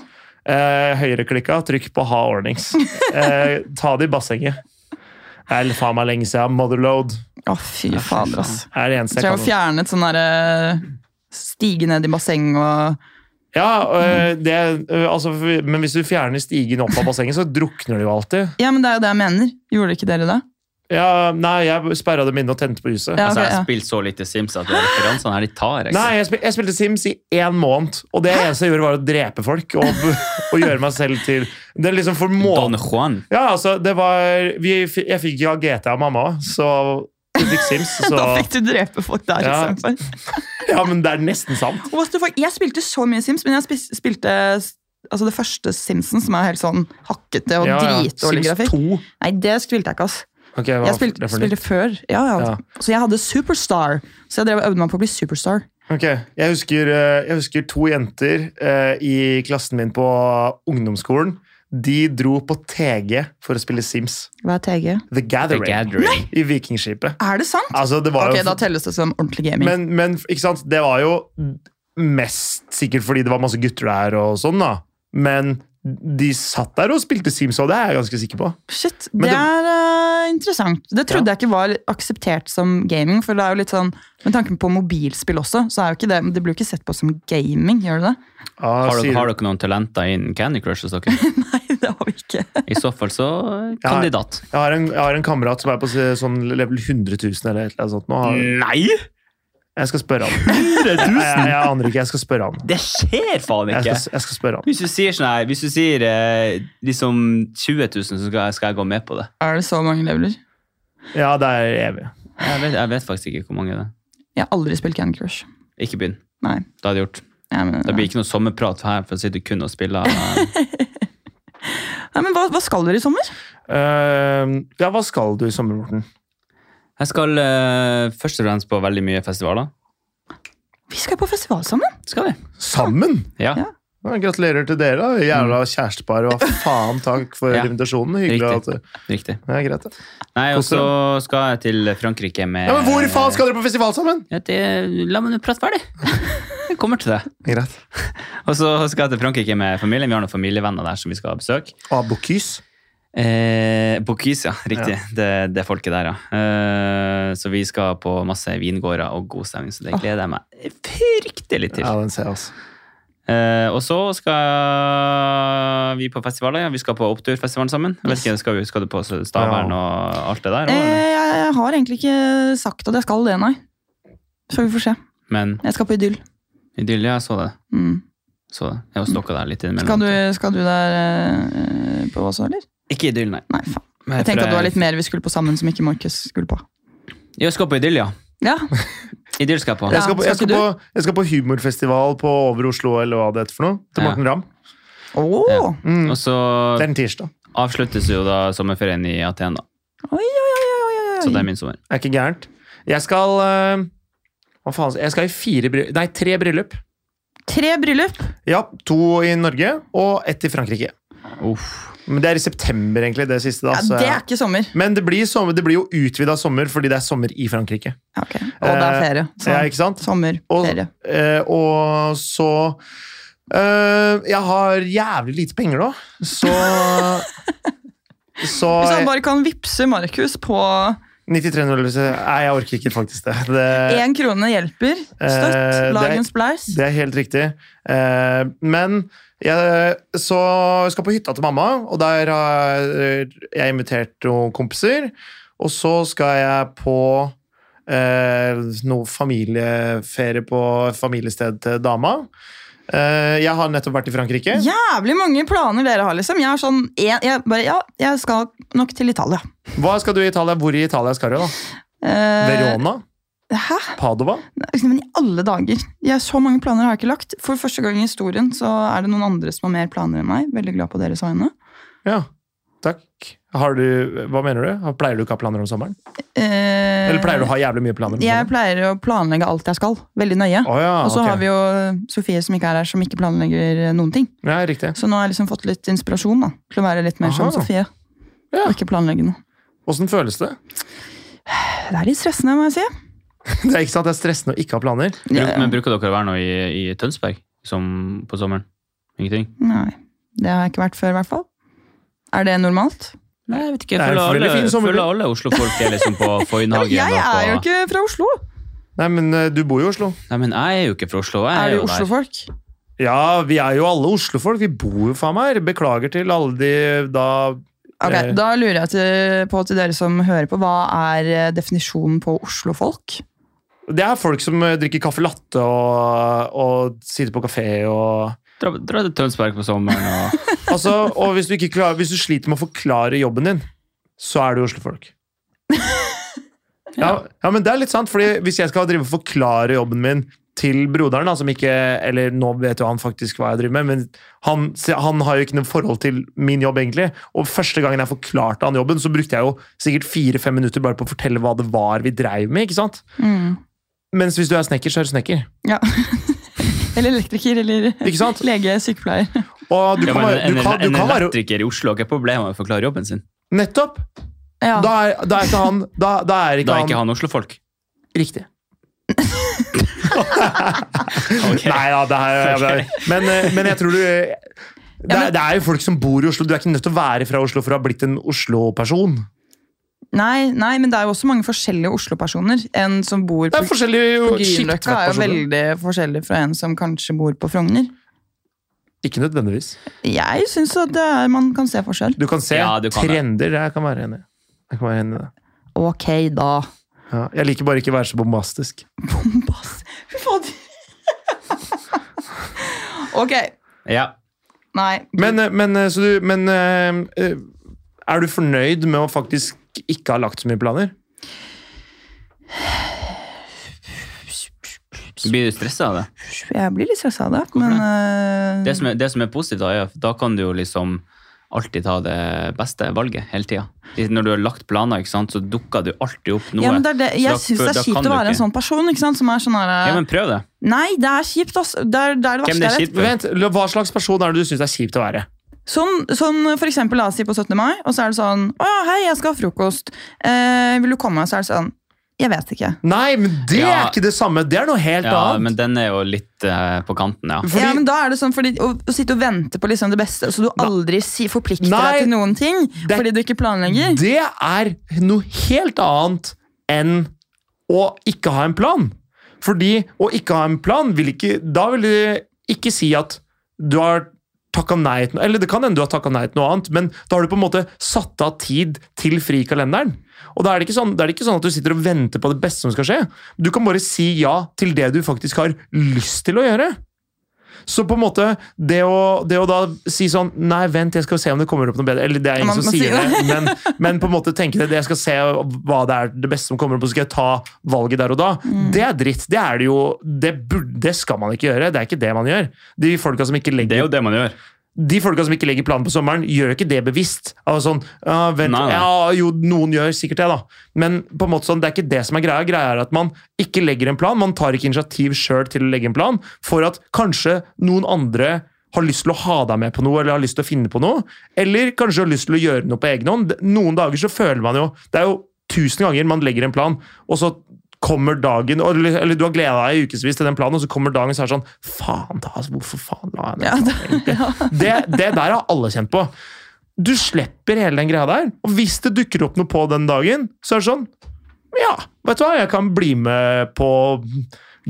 Speaker 3: Eh, Høyreklikka, trykk på ha ordnings. Eh, ta det i bassenget. Eller faen meg lenge siden. Motherload
Speaker 1: Å, fy fader, ass.
Speaker 3: er det eneste
Speaker 1: Så jeg
Speaker 3: jeg
Speaker 1: har
Speaker 3: kan.
Speaker 1: fjernet sånn derre Stige ned i basseng og
Speaker 3: Ja, eh, det, eh, altså, men hvis du fjerner stigen opp av bassenget, så drukner det jo alltid.
Speaker 1: Ja, men det er jo det jeg mener. Gjorde ikke dere det?
Speaker 3: Ja, nei, jeg sperra dem inne og tente på huset.
Speaker 1: Ja,
Speaker 2: Altså, jeg
Speaker 1: ok,
Speaker 2: har
Speaker 1: ja.
Speaker 2: spilt så lite Sims at de referansene her de tar. Jeg.
Speaker 3: Nei, jeg, spil jeg spilte Sims i én måned, og det eneste jeg gjorde, var å drepe folk. Og, og gjøre meg selv til Det er liksom for måten
Speaker 2: Don Juan.
Speaker 3: Ja, altså, det var vi, f- Jeg fikk ja GT av mamma, så vi fikk Sims. Så,
Speaker 1: Da fikk du drepe folk der,
Speaker 3: Ja.
Speaker 1: eksempel.
Speaker 3: ja, men det er nesten sant.
Speaker 1: What the fuck? Jeg spilte så mye Sims, men jeg spis- spilte altså det første Simpsons, som er helt sånn hakkete og
Speaker 3: Ja, ja.
Speaker 1: dritdårlig
Speaker 3: Sims
Speaker 1: grafikk.
Speaker 3: 2.
Speaker 1: Nei, det spilte jeg ikke, ass.
Speaker 4: Ok, hva
Speaker 1: Jeg spilte,
Speaker 4: det for
Speaker 1: spilte
Speaker 4: nytt?
Speaker 1: før. Ja, ja.
Speaker 4: Ja.
Speaker 1: Så jeg hadde Superstar. Så jeg drev og øvde meg på å bli superstar.
Speaker 3: Ok, jeg husker, eh, jeg husker to jenter eh, i klassen min på ungdomsskolen. De dro på TG for å spille Sims.
Speaker 1: Hva er TG?
Speaker 3: The Gathering.
Speaker 1: The Gathering. Nei!
Speaker 3: I Vikingskipet.
Speaker 1: Er det sant?
Speaker 3: Altså, det var
Speaker 1: ok,
Speaker 3: jo-
Speaker 1: da telles det som ordentlig gaming.
Speaker 3: Men, men ikke sant? det var jo mest sikkert fordi det var masse gutter der og sånn, da. Men de satt der og spilte Sims, og det er jeg ganske sikker på.
Speaker 1: Shit,
Speaker 3: Men
Speaker 1: det, er
Speaker 3: det-
Speaker 1: eh, interessant. Det trodde jeg ikke var akseptert som gaming. for det er jo litt sånn, Med tanken på mobilspill også, så er jo ikke det, det blir jo ikke sett på som gaming. gjør det det?
Speaker 3: Ah,
Speaker 2: Har dere,
Speaker 3: sier-
Speaker 2: har dere noen talenter innen Candy Crush hos dere? Nei, det har vi ikke. I så fall så eh,
Speaker 3: Jeg har-
Speaker 2: kandidat.
Speaker 3: Jeg har, en, jeg har en kamerat som er på se- sånn level 100 000 eller et eller annet sånt. Nå har,
Speaker 2: Nei!
Speaker 3: jeg skal spørre han.
Speaker 2: 100
Speaker 3: Jeg, jeg, jeg aner ikke, jeg skal spørre han.
Speaker 2: Det skjer faen
Speaker 3: Jeg
Speaker 2: ikke!
Speaker 3: skal, jeg skal spørre han.
Speaker 2: Hvis du sier, sånn her, hvis du sier eh, liksom 20 000, så skal jeg, skal jeg gå med på det.
Speaker 1: Er det så mange leveler?
Speaker 3: Ja, det er evig.
Speaker 2: Jeg vet, jeg vet faktisk ikke hvor mange det er.
Speaker 1: Jeg har aldri spilt Candy Crush.
Speaker 2: Ikke begynn.
Speaker 1: Nei.
Speaker 2: Det hadde jeg gjort.
Speaker 1: Ja, men,
Speaker 2: Det blir ikke noe sommerprat her, for å si du kun og spiller eh,
Speaker 1: Nei, men hva, hva skal dere i sommer?
Speaker 3: Ehm, ja, hva skal du i sommer, Morten?
Speaker 2: Jeg skal eh, først og fremst på veldig mye festivaler.
Speaker 1: Vi skal på festival sammen.
Speaker 2: Skal vi?
Speaker 3: Sammen?
Speaker 2: Ja,
Speaker 3: Ja, gratulerer til dere, da. Jævla kjærestepar. Og faen takk for
Speaker 2: Mm. Ja.
Speaker 3: invitasjonen. Hyggelig at det
Speaker 2: riktig.
Speaker 3: ja, greit, det.
Speaker 2: Nei, og så
Speaker 3: Koster
Speaker 2: skal jeg til Frankrike med
Speaker 3: Ja, men hvor faen skal dere på festival sammen?
Speaker 2: Ja, det- La meg nå prate ferdig. Jeg kommer til det.
Speaker 3: Greit.
Speaker 2: Og så skal jeg til Frankrike med familien. Vi har noen familievenner der som vi skal ha besøk.
Speaker 3: Abokys.
Speaker 2: Eh, Bocuse, ja. Riktig. Det, det folket der, ja. Eh, så vi skal på masse vingårder og god stemning, så
Speaker 1: Ah.
Speaker 2: det gleder jeg meg fryktelig til.
Speaker 3: Ja, den ser jeg, altså.
Speaker 2: Eh, og så skal vi på festivaler. Ja. Vi skal på Oppturfestivalen sammen. Jeg vet ikke, skal, vi, skal du på Stavern og alt det der?
Speaker 1: Eh,
Speaker 2: eller?
Speaker 1: jeg, jeg har egentlig ikke sagt at jeg skal det, nei. Så vi får se.
Speaker 2: Men
Speaker 1: Jeg skal på Idyll.
Speaker 2: idyll, ja, jeg så det.
Speaker 1: Mm.
Speaker 2: Så det. Jeg var stokka der litt
Speaker 1: Skal,
Speaker 2: innimellom.
Speaker 1: du, skal du der eh, på også, eller?
Speaker 2: Ikke idyll, nei.
Speaker 1: Nei, faen. Jeg tenkte at det var litt mer vi skulle på sammen som ikke Markus skulle på.
Speaker 2: Jeg skal på idyll, ja.
Speaker 1: Ja,
Speaker 2: Idyll skal jeg på.
Speaker 3: Jeg skal,
Speaker 1: Ja,
Speaker 3: på,
Speaker 1: skal
Speaker 3: jeg, skal
Speaker 1: ikke
Speaker 3: på, jeg skal på humorfestival på Over Oslo eller hva det heter for noe. Til
Speaker 2: Ja.
Speaker 3: Morten Ramm.
Speaker 1: Åh!
Speaker 2: Ja.
Speaker 3: Mm.
Speaker 2: Og så
Speaker 3: Det er en tirsdag.
Speaker 2: avsluttes jo da sommerferien i Aten, da.
Speaker 1: Oi, oi, oi, oi, oi, oi.
Speaker 2: Så det er min sommer.
Speaker 3: Er ikke gærent. Jeg skal eh, Hva faen? Jeg skal i fire bry Nei, tre bryllup.
Speaker 1: Tre bryllup.
Speaker 3: Ja, to i Norge og ett i Frankrike.
Speaker 2: Uff.
Speaker 3: Men det er i september, egentlig, det siste. da.
Speaker 1: Ja,
Speaker 3: så
Speaker 1: det er
Speaker 3: jeg-
Speaker 1: ikke sommer.
Speaker 3: Men det blir, sommer, det blir jo utvida sommer fordi det er sommer i Frankrike.
Speaker 1: Ja, ok. Og det er
Speaker 3: Eh,
Speaker 1: ferie. Så
Speaker 3: ja, ikke sant?
Speaker 1: sommer,
Speaker 3: Og,
Speaker 1: ferie.
Speaker 3: eh, og så eh, Jeg har jævlig lite penger nå, så Så
Speaker 1: Hvis han bare kan vippse Markus på
Speaker 3: 9300 Nei, jeg orker ikke faktisk det. det
Speaker 1: én krone hjelper, støtt,
Speaker 3: eh,
Speaker 1: lag
Speaker 3: det-
Speaker 1: en spleis.
Speaker 3: Det er helt riktig. Eh, men jeg, så jeg skal på hytta til mamma, og der har jeg invitert noen kompiser. Og så skal jeg på eh, noe familieferie på familiested til dama. Eh, jeg har nettopp vært i Frankrike.
Speaker 1: Jævlig mange planer dere har, liksom. Jeg er sånn, jeg, jeg bare, ja, jeg skal nok til Italia.
Speaker 3: Hva skal du i Italia? Hvor i Italia skal du? da?
Speaker 1: Eh,
Speaker 3: Verona?
Speaker 1: Hæ?
Speaker 3: Padova?
Speaker 1: Nei, Men i alle dager! Jeg, så mange planer har jeg ikke lagt. For første gang i historien så er det noen andre som har mer planer enn meg. Veldig glad på deres vegne.
Speaker 3: Ja, takk. Har du, hva mener du? Pleier du ikke å ha planer om sommeren?
Speaker 1: Eh,
Speaker 3: Eller pleier du å ha jævlig mye planer? om
Speaker 1: Jeg
Speaker 3: sommeren?
Speaker 1: pleier å planlegge alt jeg skal, veldig nøye.
Speaker 3: Å ja,
Speaker 1: Og så
Speaker 3: Ah, ok.
Speaker 1: har vi jo Sofie som ikke er her, som ikke planlegger eh, noen ting.
Speaker 3: Ja, riktig.
Speaker 1: Så nå har jeg liksom fått litt inspirasjon da, til å være litt mer som
Speaker 3: Aha.
Speaker 1: Sofie. Og ikke planlegge noe.
Speaker 3: Åssen føles det?
Speaker 1: Det er litt stressende, må jeg si.
Speaker 3: Det er ikke sant, det er stressende å ikke ha planer.
Speaker 2: Bruk, men bruker dere å være noe i, i Tønsberg som, på sommeren? Ingenting?
Speaker 1: Nei, Det har jeg ikke vært før, i hvert fall. Er det normalt?
Speaker 2: Nei, jeg vet ikke.
Speaker 3: Det er
Speaker 2: Jeg føler
Speaker 3: en veldig fin
Speaker 2: alle,
Speaker 3: sommerby.
Speaker 2: føler alle Oslo-folk er liksom på Foynhagen.
Speaker 1: Jeg
Speaker 2: og
Speaker 1: er jo
Speaker 2: på-
Speaker 1: ikke fra Oslo!
Speaker 3: Nei, men eh, du bor jo i Oslo.
Speaker 2: Nei, men jeg er jo ikke fra Oslo. Jeg er,
Speaker 1: Er du
Speaker 2: jo der.
Speaker 1: Oslo-folk?
Speaker 3: Ja, vi er jo alle Oslo-folk. Vi bor jo faen meg her. Beklager til alle de da
Speaker 1: Ok,
Speaker 3: Eh.
Speaker 1: Da lurer jeg til, på til dere som hører på, hva er eh, definisjonen på Oslo-folk?
Speaker 3: Det er folk som eh, drikker kaffe latte og, og sitter på kafé og
Speaker 2: Dra, dra til Tønsberg på sommeren og
Speaker 3: Altså, og hvis du, ikke klarer, hvis du sliter med å forklare jobben din, så er du Oslo-folk. Ja, ja, men det er litt sant, fordi hvis jeg skal drive og forklare jobben min til broderen, da, som ikke Eller nå vet jo han faktisk hva jeg driver med, men han, se- han har jo ikke noe forhold til min jobb, egentlig. Og første gangen jeg forklarte han jobben, så brukte jeg jo sikkert fire-fem minutter bare på å fortelle hva det var vi dreiv med. ikke sant?
Speaker 1: Mm.
Speaker 3: Mens hvis du er snekker, så er du snekker.
Speaker 1: Ja. Eller elektriker, eller
Speaker 3: Ikke sant?
Speaker 1: lege, sykepleier.
Speaker 3: Og du
Speaker 2: Ja,
Speaker 3: kan,
Speaker 2: men
Speaker 3: være-
Speaker 2: en,
Speaker 3: du kan, du
Speaker 2: en
Speaker 3: kan være
Speaker 2: elektriker i Oslo har ikke problemer med å forklare jobben sin.
Speaker 3: Nettopp!
Speaker 1: Ja.
Speaker 3: Da er, da er ikke han Da, da er ikke
Speaker 2: Da er
Speaker 3: han
Speaker 2: ikke han Oslo-folk.
Speaker 3: Riktig. Nei da, det her det her- men, eh, men jeg tror du eh, det er, det er jo folk som bor i Oslo. Du er ikke nødt til å være fra Oslo for å ha blitt en Oslo-person.
Speaker 1: Nei, nei, men det er jo også mange forskjellige Oslo-personer. En som bor
Speaker 3: Det
Speaker 1: på,
Speaker 3: er forskjellig
Speaker 1: på
Speaker 3: skikt.
Speaker 1: Grünerløkka er jo veldig forskjellig fra en som kanskje bor på Frogner.
Speaker 3: Ikke nødvendigvis.
Speaker 1: Jeg syns at det er, man kan se forskjell.
Speaker 3: Du kan se
Speaker 2: Ja, du kan det.
Speaker 3: trender. Jeg kan være enig. Jeg, kan være enig i det.
Speaker 1: Ok, da.
Speaker 3: ja, jeg liker bare ikke å være så bombastisk.
Speaker 1: Bombast. Fy fader. ok.
Speaker 2: Ja.
Speaker 1: Nei.
Speaker 3: Men, eh, men, eh, så du, men eh, eh, er du fornøyd med å faktisk ikke ha lagt så mye planer?
Speaker 2: Blir du stressa av det?
Speaker 1: jeg blir litt stressa av det. Men eh,
Speaker 2: Det som er, det som er positivt, da, er at da kan du jo liksom alltid ta det beste valget hele tida. Når du har lagt planer, ikke sant, så dukker du alltid opp noe.
Speaker 1: ja, men det er det.
Speaker 2: Så da-
Speaker 1: Jeg syns det
Speaker 2: da
Speaker 1: er
Speaker 2: kan
Speaker 1: kjipt
Speaker 2: du
Speaker 1: å være en
Speaker 2: ikke.
Speaker 1: sånn person ikke sant? som er sånn her eh,
Speaker 2: Ja, men prøv det.
Speaker 1: Nei, det er kjipt, ass. Det er det, er det verste
Speaker 2: Hvem
Speaker 1: jeg
Speaker 2: det er
Speaker 1: vet.
Speaker 2: kjipt for?
Speaker 3: Vent, Hva slags person er det du syns er kjipt å være?
Speaker 1: Sånn, sånn for eksempel, la oss si på 17. mai, og så er det sånn Å ja, hei, jeg skal ha frokost. Eh, vil du komme? Og så er det sånn Jeg vet ikke.
Speaker 3: Nei, men det
Speaker 2: Ja.
Speaker 3: er ikke det samme. Det er noe helt
Speaker 2: Ja,
Speaker 3: annet.
Speaker 2: men den er jo litt eh, på kanten, ja.
Speaker 3: Fordi-
Speaker 1: ja, men da er det sånn, fordi Å, å sitte og vente på liksom det beste, så du aldri si, forplikter
Speaker 3: Nei.
Speaker 1: deg til noen ting
Speaker 3: Det-
Speaker 1: fordi du ikke planlegger.
Speaker 3: Det er noe helt annet enn å ikke ha en plan. Fordi å ikke ha en plan vil ikke Da vil du ikke si at du har takka nei til noe Eller det kan hende du har takka nei til noe annet, men da har du på en måte satt av tid til fri i kalenderen. Og da er, det ikke sånn, da er det ikke sånn at du sitter og venter på det beste som skal skje. Du kan bare si ja til det du faktisk har lyst til å gjøre. Så på en måte, det å, det å da si sånn Nei, vent, jeg skal se om det kommer opp noe bedre. Eller det er ingen
Speaker 1: Man
Speaker 3: som
Speaker 1: må si
Speaker 3: sier det, men, men på en måte tenke det. Jeg skal se hva det er det beste som kommer opp, og så skal jeg ta valget der og da. Det er dritt. Det er det jo Det, burde, det skal man ikke gjøre. Det er ikke det man gjør. De folka som ikke
Speaker 2: Det er
Speaker 3: legger,
Speaker 2: jo det man gjør.
Speaker 3: de folka som ikke legger planen på sommeren, gjør ikke det bevisst. Altså sånn, «Ja, vent,
Speaker 2: Nei, nei.
Speaker 3: ja, jo, noen gjør sikkert det, da. Men på en måte sånn, det er ikke det som er greia. Greia er at man ikke legger en plan. Man tar ikke initiativ sjøl til å legge en plan, for at kanskje noen andre har lyst til å ha deg med på noe, eller har lyst til å finne på noe. Eller kanskje har lyst til å gjøre noe på egen hånd. Noen dager så føler man jo Det er jo tusen ganger man legger en plan, og så kommer dagen Eller, eller du har gleda deg i ukevis til den planen, og så kommer dagen, så er det sånn Faen, da, altså, hvorfor faen la jeg den
Speaker 1: Ja, det, ja.
Speaker 3: det, det der har alle kjent på. Du slipper hele den greia der, og hvis det dukker opp noe på den dagen, så er det sånn Ja, vet du hva, jeg kan bli med på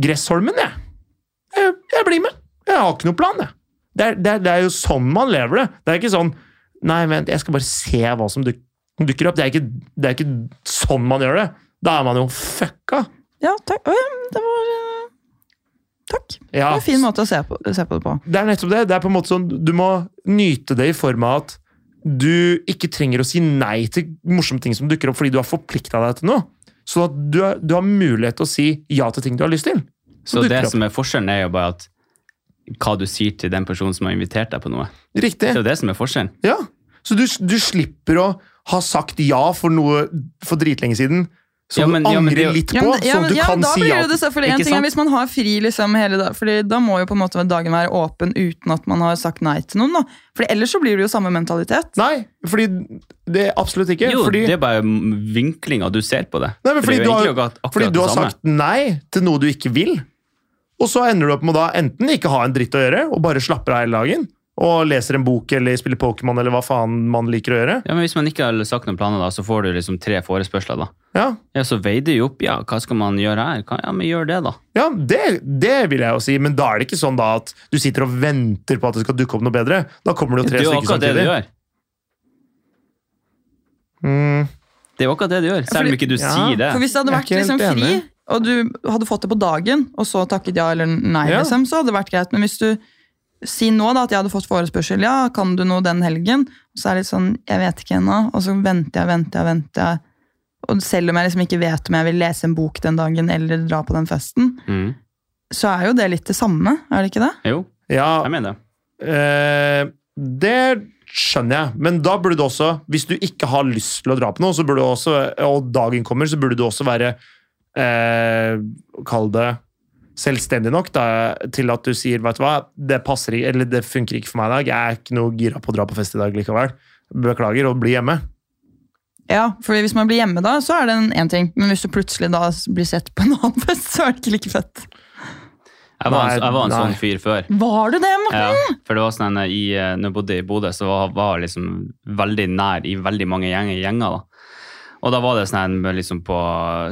Speaker 3: Gressholmen, jeg. Jeg, jeg blir med. Jeg har ikke noen plan, jeg. Det er, det, er, det er jo sånn man lever det. Det er ikke sånn Nei, vent, jeg skal bare se hva som duk, dukker opp. Det er, ikke, det er ikke sånn man gjør det. Da er man jo fucka.
Speaker 1: ja, takk. Å, ja, det var eh, Takk. Det
Speaker 3: Ja,
Speaker 1: var en fin måte å se på, se på det på.
Speaker 3: Det er nettopp det. Det er på en måte sånn, Du må nyte det i form av at du ikke trenger å si nei til morsomme ting som dukker opp fordi du har forplikta deg til noe. Sånn at du, har- du har mulighet til å si ja til ting du har lyst til.
Speaker 2: Så
Speaker 3: dukker
Speaker 2: det
Speaker 3: opp.
Speaker 2: som er forskjellen, er jo bare at hva du sier til den personen som har invitert deg på noe. Det er
Speaker 3: Riktig.
Speaker 2: jo det som er forskjellen.
Speaker 3: Ja. Så du, du slipper å ha sagt ja for noe for dritlenge siden som
Speaker 2: Ja, men-
Speaker 3: du
Speaker 2: ja, men
Speaker 3: angrer
Speaker 2: det er jo-
Speaker 3: litt på,
Speaker 1: Ja, men, ja,
Speaker 3: sånn at
Speaker 1: men,
Speaker 3: du
Speaker 1: ja, men
Speaker 3: kan
Speaker 1: da
Speaker 3: si
Speaker 1: blir
Speaker 3: ja.
Speaker 1: det jo det, fordi
Speaker 2: Ikke
Speaker 1: en ting
Speaker 2: sant?
Speaker 1: er Hvis man har fri liksom hele dag, fordi da må jo på en måte dagen være åpen uten at man har sagt nei til noen. da. Fordi Ellers så blir det jo samme mentalitet.
Speaker 3: Nei, fordi det er absolutt ikke.
Speaker 2: Jo,
Speaker 3: fordi,
Speaker 2: det er bare vinklinga du ser på det.
Speaker 3: Nei, men
Speaker 2: For det
Speaker 3: fordi
Speaker 2: er
Speaker 3: du
Speaker 2: jo
Speaker 3: har,
Speaker 2: egentlig akkurat
Speaker 3: fordi du
Speaker 2: det
Speaker 3: har
Speaker 2: samme.
Speaker 3: sagt nei til noe du ikke vil, og så ender du opp med å da enten ikke ha en dritt å gjøre, og bare slapper av hele dagen, og leser en bok eller spiller Pokémon eller hva faen man liker å gjøre.
Speaker 2: Ja, men Hvis man ikke har sagt noen planer, da, så får du liksom tre forespørsler. da.
Speaker 3: Ja,
Speaker 2: Ja, Så veier du jo opp. ja, Hva skal man gjøre her? Hva- Ja, men gjør det, da.
Speaker 3: ja det, det vil jeg jo si, men da er det ikke sånn da at du sitter og venter på at det skal dukke opp noe bedre. Da kommer det jo
Speaker 2: Det
Speaker 3: tre
Speaker 2: er jo
Speaker 3: stykker
Speaker 2: akkurat det du
Speaker 3: samtidig.
Speaker 2: gjør.
Speaker 3: Mm,
Speaker 2: Det er jo akkurat det du gjør, selv om
Speaker 1: fordi-
Speaker 2: ikke du
Speaker 3: Ja.
Speaker 2: sier det.
Speaker 1: For hvis det hadde
Speaker 3: Jeg er
Speaker 1: vært
Speaker 3: ikke helt
Speaker 1: liksom fri,
Speaker 3: enig.
Speaker 1: og du hadde fått det på dagen, og så takket ja eller nei,
Speaker 3: Ja.
Speaker 1: liksom, så hadde det vært greit. Men hvis du sier nå da at jeg hadde fått forespørsel, ja, kan du noe den helgen? Og så er det litt sånn, jeg vet ikke ennå, og så venter jeg, venter jeg, venter jeg. Og selv om jeg liksom ikke vet om jeg vil lese en bok den dagen eller dra på den festen,
Speaker 2: Mm.
Speaker 1: så er jo det litt det samme, er det ikke det?
Speaker 2: Jo,
Speaker 3: Ja,
Speaker 2: jeg mener det.
Speaker 3: eh, det skjønner jeg. Men da burde du også, hvis du ikke har lyst til å dra på noe, så burde du også, og dagen kommer, så burde du også være eh, Kall det selvstendig nok da, til at du sier vet du hva, det passer ikke, eller det funker ikke for meg i dag. Jeg er ikke noe gira på å dra på fest i dag likevel. Beklager, og bli hjemme.
Speaker 1: Ja, for hvis man blir hjemme da, så er det en, en ting. Men hvis du plutselig da blir sett på en annen fest, så er det ikke like fett.
Speaker 2: Jeg var,
Speaker 3: Nei,
Speaker 2: en, jeg var en
Speaker 3: nei.
Speaker 2: sånn fyr før.
Speaker 1: Var du det, Morten?
Speaker 2: Ja, for det var sånn en, i, eh, Når jeg bodde i Bodø, så var- var jeg liksom veldig nær i veldig mange gjenger. gjenger da. Og da var det sånn en, liksom på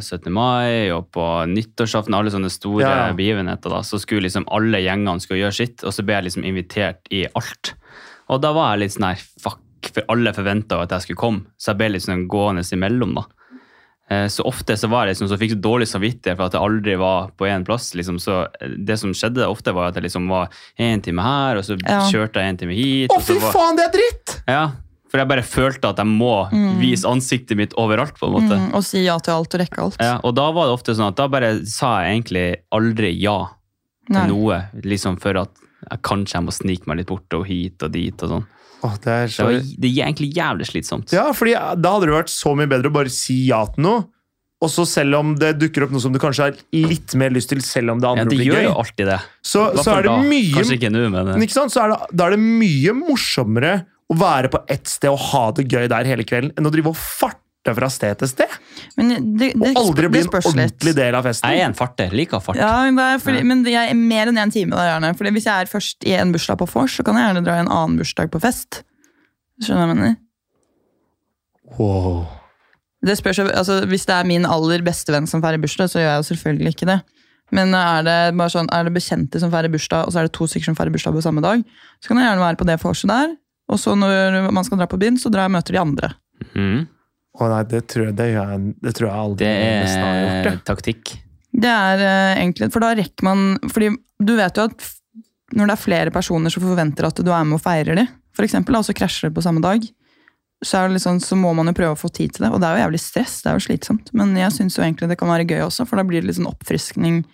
Speaker 2: 17. mai og på nyttårsaften, alle sånne store
Speaker 3: Ja, ja.
Speaker 2: begivenheter, da, så skulle liksom alle gjengene skulle gjøre sitt, og så ble jeg liksom invitert i alt. Og da var jeg litt sånn her, fuck, for alle forventa at jeg skulle komme, så jeg ble litt sånn gående imellom, da. Eh, Så ofte så var jeg liksom, så fikk jeg dårlig samvittighet for at jeg aldri var på én plass. Liksom. Så eh, det som skjedde ofte, var at jeg liksom var én time her, og så
Speaker 1: Ja.
Speaker 2: kjørte jeg én time hit.
Speaker 3: Å,
Speaker 2: og så
Speaker 3: fy
Speaker 2: var-
Speaker 3: faen, det er dritt!
Speaker 2: Ja, for jeg bare følte at jeg må vise ansiktet mitt overalt, på en måte.
Speaker 1: Mm, og si ja til alt og rekke alt.
Speaker 2: Ja, og da var det ofte sånn at da bare sa jeg egentlig aldri ja til
Speaker 1: Nei.
Speaker 2: noe, liksom for at jeg kanskje jeg må snike meg litt bort og hit og dit og sånn.
Speaker 3: Å, det er
Speaker 2: Det
Speaker 3: så
Speaker 2: var det er egentlig jævlig slitsomt.
Speaker 3: Ja, fordi da hadde det vært så mye bedre å bare si ja til noe. Og så selv om det dukker opp noe som du kanskje har litt mer lyst til, selv om det
Speaker 2: Ja,
Speaker 3: andre
Speaker 2: det gjør
Speaker 3: blir gøy,
Speaker 2: jo alltid det.
Speaker 3: så,
Speaker 2: Hva
Speaker 3: så
Speaker 2: for
Speaker 3: er det
Speaker 2: da?
Speaker 3: mye
Speaker 2: Kanskje ikke nå, men eh,
Speaker 3: Men ikke sant? Så er det, da er det mye morsommere å være på ett sted og ha det gøy der hele kvelden, enn å drive og farte fra sted til sted.
Speaker 1: Men det, det,
Speaker 3: Og aldri
Speaker 1: det
Speaker 3: bli en
Speaker 1: spørs litt.
Speaker 3: ordentlig del av festen.
Speaker 2: jeg er en farter. Liker fart.
Speaker 1: Ja, men det er fordi, men jeg er mer enn én time da, gjerne. Fordi hvis jeg er først i en bursdag på vors, så kan jeg gjerne dra i en annen bursdag på fest. Skjønner du hva jeg mener?
Speaker 3: Wow.
Speaker 1: Det spørs, jo- altså, hvis det er min aller beste venn som feirer bursdag, så gjør jeg jo selvfølgelig ikke det. Men er det, bare sånn, er det bekjente som feirer bursdag, og så er det to stykker som feirer bursdag på samme dag, så kan jeg gjerne være på det vorset der. Og så når man skal dra på byen, så drar jeg og møter de andre.
Speaker 2: Mhm.
Speaker 3: Å nei, det tror jeg, det gjør jeg, det tror jeg aldri
Speaker 2: Det
Speaker 3: nesten har gjort.
Speaker 2: er
Speaker 3: det.
Speaker 2: taktikk.
Speaker 1: Det er eh, egentlig, for da rekker man Fordi du vet jo at f- når det er flere personer som forventer at du er med og feirer de, for eksempel, da, og så krasjer det på samme dag, så, er det litt sånn, så må man jo prøve å få tid til det. Og det er jo jævlig stress, det er jo slitsomt. Men jeg syns jo egentlig det kan være gøy også, for da blir det litt sånn oppfriskning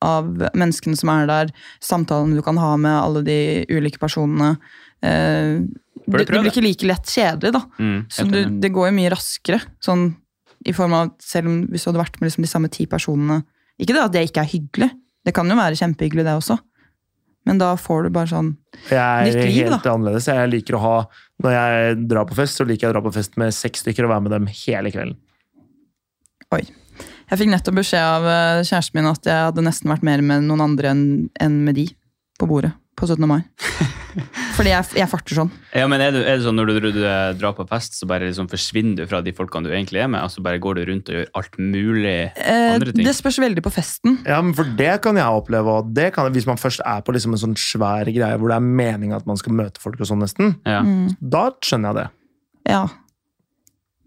Speaker 1: av menneskene som er der, samtalen du kan ha med alle de ulike personene. Eh,
Speaker 2: Bør du
Speaker 1: det, det
Speaker 2: prøve
Speaker 1: blir
Speaker 2: det?
Speaker 1: ikke like lett kjedelig, da.
Speaker 2: Mm,
Speaker 1: Så
Speaker 2: helt
Speaker 1: du,
Speaker 2: enig.
Speaker 1: det går jo mye raskere, sånn i form av at selv om hvis du hadde vært med liksom de samme ti personene Ikke det at det ikke er hyggelig, det kan jo være kjempehyggelig, det også. Men da får du bare sånn
Speaker 3: Jeg er
Speaker 1: Nytt liv,
Speaker 3: helt annerledes. Jeg liker å ha, Når jeg drar på fest, så liker jeg å dra på fest med seks stykker og være med dem hele kvelden.
Speaker 1: Oi. Jeg fikk nettopp beskjed av eh, kjæresten min at jeg hadde nesten vært mer med noen andre enn enn med de på bordet på 17. mai. Fordi jeg, jeg farter sånn.
Speaker 2: Ja, men er, du, er det sånn når du, du, drar på fest, så bare liksom forsvinner du fra de folkene du egentlig er med, og så bare går du rundt og gjør alt mulig
Speaker 1: Eh,
Speaker 2: andre ting?
Speaker 1: det spørs veldig på festen.
Speaker 3: Ja, men For det kan jeg oppleve. Og det kan, hvis man først er på liksom en sånn svær greie hvor det er meninga at man skal møte folk, og sånn nesten,
Speaker 2: Ja.
Speaker 3: da skjønner jeg det.
Speaker 1: Ja.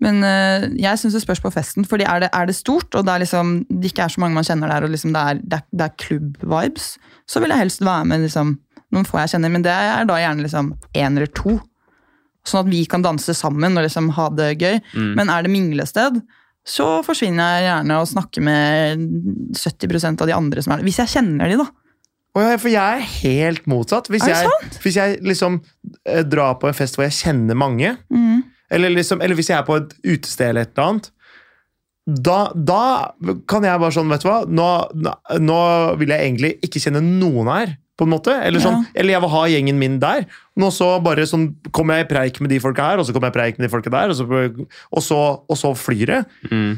Speaker 1: Men eh, jeg syns det spørs på festen. fordi er det, er det stort, og det, er liksom, det ikke er så mange man kjenner der, og liksom det er, det er, det er klubb-vibes, så vil jeg helst være med liksom, noen få jeg kjenner. Men det er da gjerne liksom én eller to. Sånn at vi kan danse sammen og liksom ha det gøy.
Speaker 3: Mm.
Speaker 1: Men er det minglested, så forsvinner jeg gjerne og snakker med 70 av de andre som er der. Hvis jeg kjenner de, da.
Speaker 3: Og jeg, for jeg er helt motsatt. Hvis
Speaker 1: Er det
Speaker 3: jeg, hvis jeg liksom eh, drar på en fest hvor jeg kjenner mange,
Speaker 1: Mm.
Speaker 3: eller, liksom, eller hvis jeg er på et utested eller et eller annet, da, da kan jeg bare sånn, vet du hva nå, nå- nå vil jeg egentlig ikke kjenne noen her, på en måte. Eller, sånn, eller jeg vil ha gjengen min der. Nå så bare sånn, kommer jeg i preik med de folka her, og så kommer jeg i preik med de folka der, og så, og så, og så flyr det.
Speaker 2: Mm.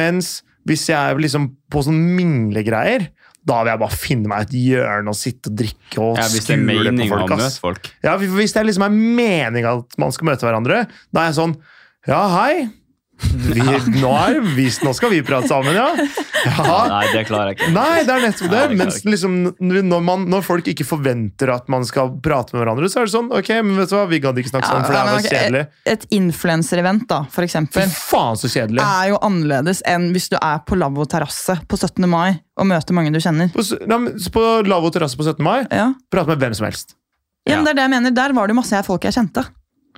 Speaker 3: Mens hvis jeg er liksom på sånn minglegreier, da vil jeg bare finne meg et hjørne og sitte og drikke og
Speaker 2: Ja, hvis det er
Speaker 3: skule på
Speaker 2: meningen å
Speaker 3: folk.
Speaker 2: møte
Speaker 3: Ass.
Speaker 2: folk.
Speaker 3: Ja, for Hvis det liksom er meninga at man skal møte hverandre, da er jeg sånn Ja, hei. Vi, nå, er, det vist- nå skal vi prate sammen, ja. ja.
Speaker 2: Nei, det klarer jeg ikke.
Speaker 3: Nei, det er nettopp
Speaker 2: Nei, det
Speaker 3: det.
Speaker 2: klarer
Speaker 3: Mens
Speaker 2: jeg ikke.
Speaker 3: liksom, når, man, når folk ikke forventer at man skal prate med hverandre, så er det sånn Ok, men vet du hva, vi gadd ikke snakke sammen, sånn, for det her
Speaker 1: men
Speaker 3: var
Speaker 1: ok, eh,
Speaker 3: kjedelig.
Speaker 1: Et, et influenserevent, da, for
Speaker 3: Fy
Speaker 1: eksempel.
Speaker 3: faen, så kjedelig.
Speaker 1: er jo annerledes enn hvis du er på lavvo terrasse på 17. mai og møter mange du kjenner.
Speaker 3: På, s- nei, men på lavvo terrasse på 17. mai,
Speaker 1: Ja.
Speaker 3: prate med hvem som helst.
Speaker 1: Ja, men
Speaker 2: Ja.
Speaker 1: det er det jeg mener. Der var det jo masse jeg- folk jeg kjente.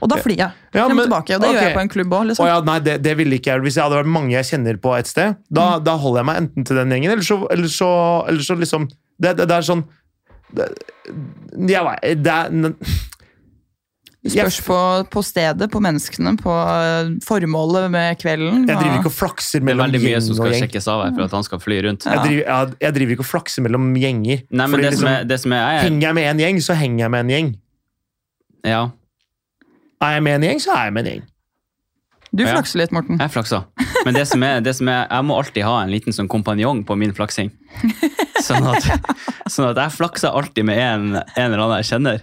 Speaker 1: Og da flyr jeg.
Speaker 3: Ja,
Speaker 1: frem og
Speaker 3: men-
Speaker 1: tilbake, og det gjør
Speaker 3: ok.
Speaker 1: jeg på en klubb òg. Liksom.
Speaker 3: Å ja, nei, det, det ville ikke jeg. Hvis jeg hadde vært mange jeg kjenner på et sted, da, da holder jeg meg enten til den gjengen, eller så, eller så, eller så liksom det, det, det er sånn det, jeg, vet- det er,
Speaker 1: Spørs på, på stedet, på menneskene, på eh, formålet med kvelden.
Speaker 3: jeg driver
Speaker 1: og-
Speaker 3: ikke og flakser
Speaker 2: Det er
Speaker 3: mellom
Speaker 2: veldig mye
Speaker 3: gjeng
Speaker 2: som
Speaker 3: og
Speaker 2: skal
Speaker 3: gjeng.
Speaker 2: sjekkes av her for at han skal fly rundt.
Speaker 3: Jeg driver, jeg, jeg driver ikke og flakser mellom gjenger.
Speaker 2: Nei, men
Speaker 3: Fordi
Speaker 2: det som
Speaker 3: liksom,
Speaker 2: er, det som er,
Speaker 3: Henger jeg med en gjeng, så henger jeg med en gjeng.
Speaker 2: er Ja,
Speaker 3: Er jeg med en gjeng, så er jeg med en gjeng.
Speaker 1: Du
Speaker 2: Ja.
Speaker 1: flakser litt, Morten.
Speaker 2: jeg flaksa. Men det som er, det som er, jeg må alltid ha en liten sånn kompanjong på min flaksing. Sånn at, sånn at jeg flakser alltid med en, en eller annen jeg kjenner.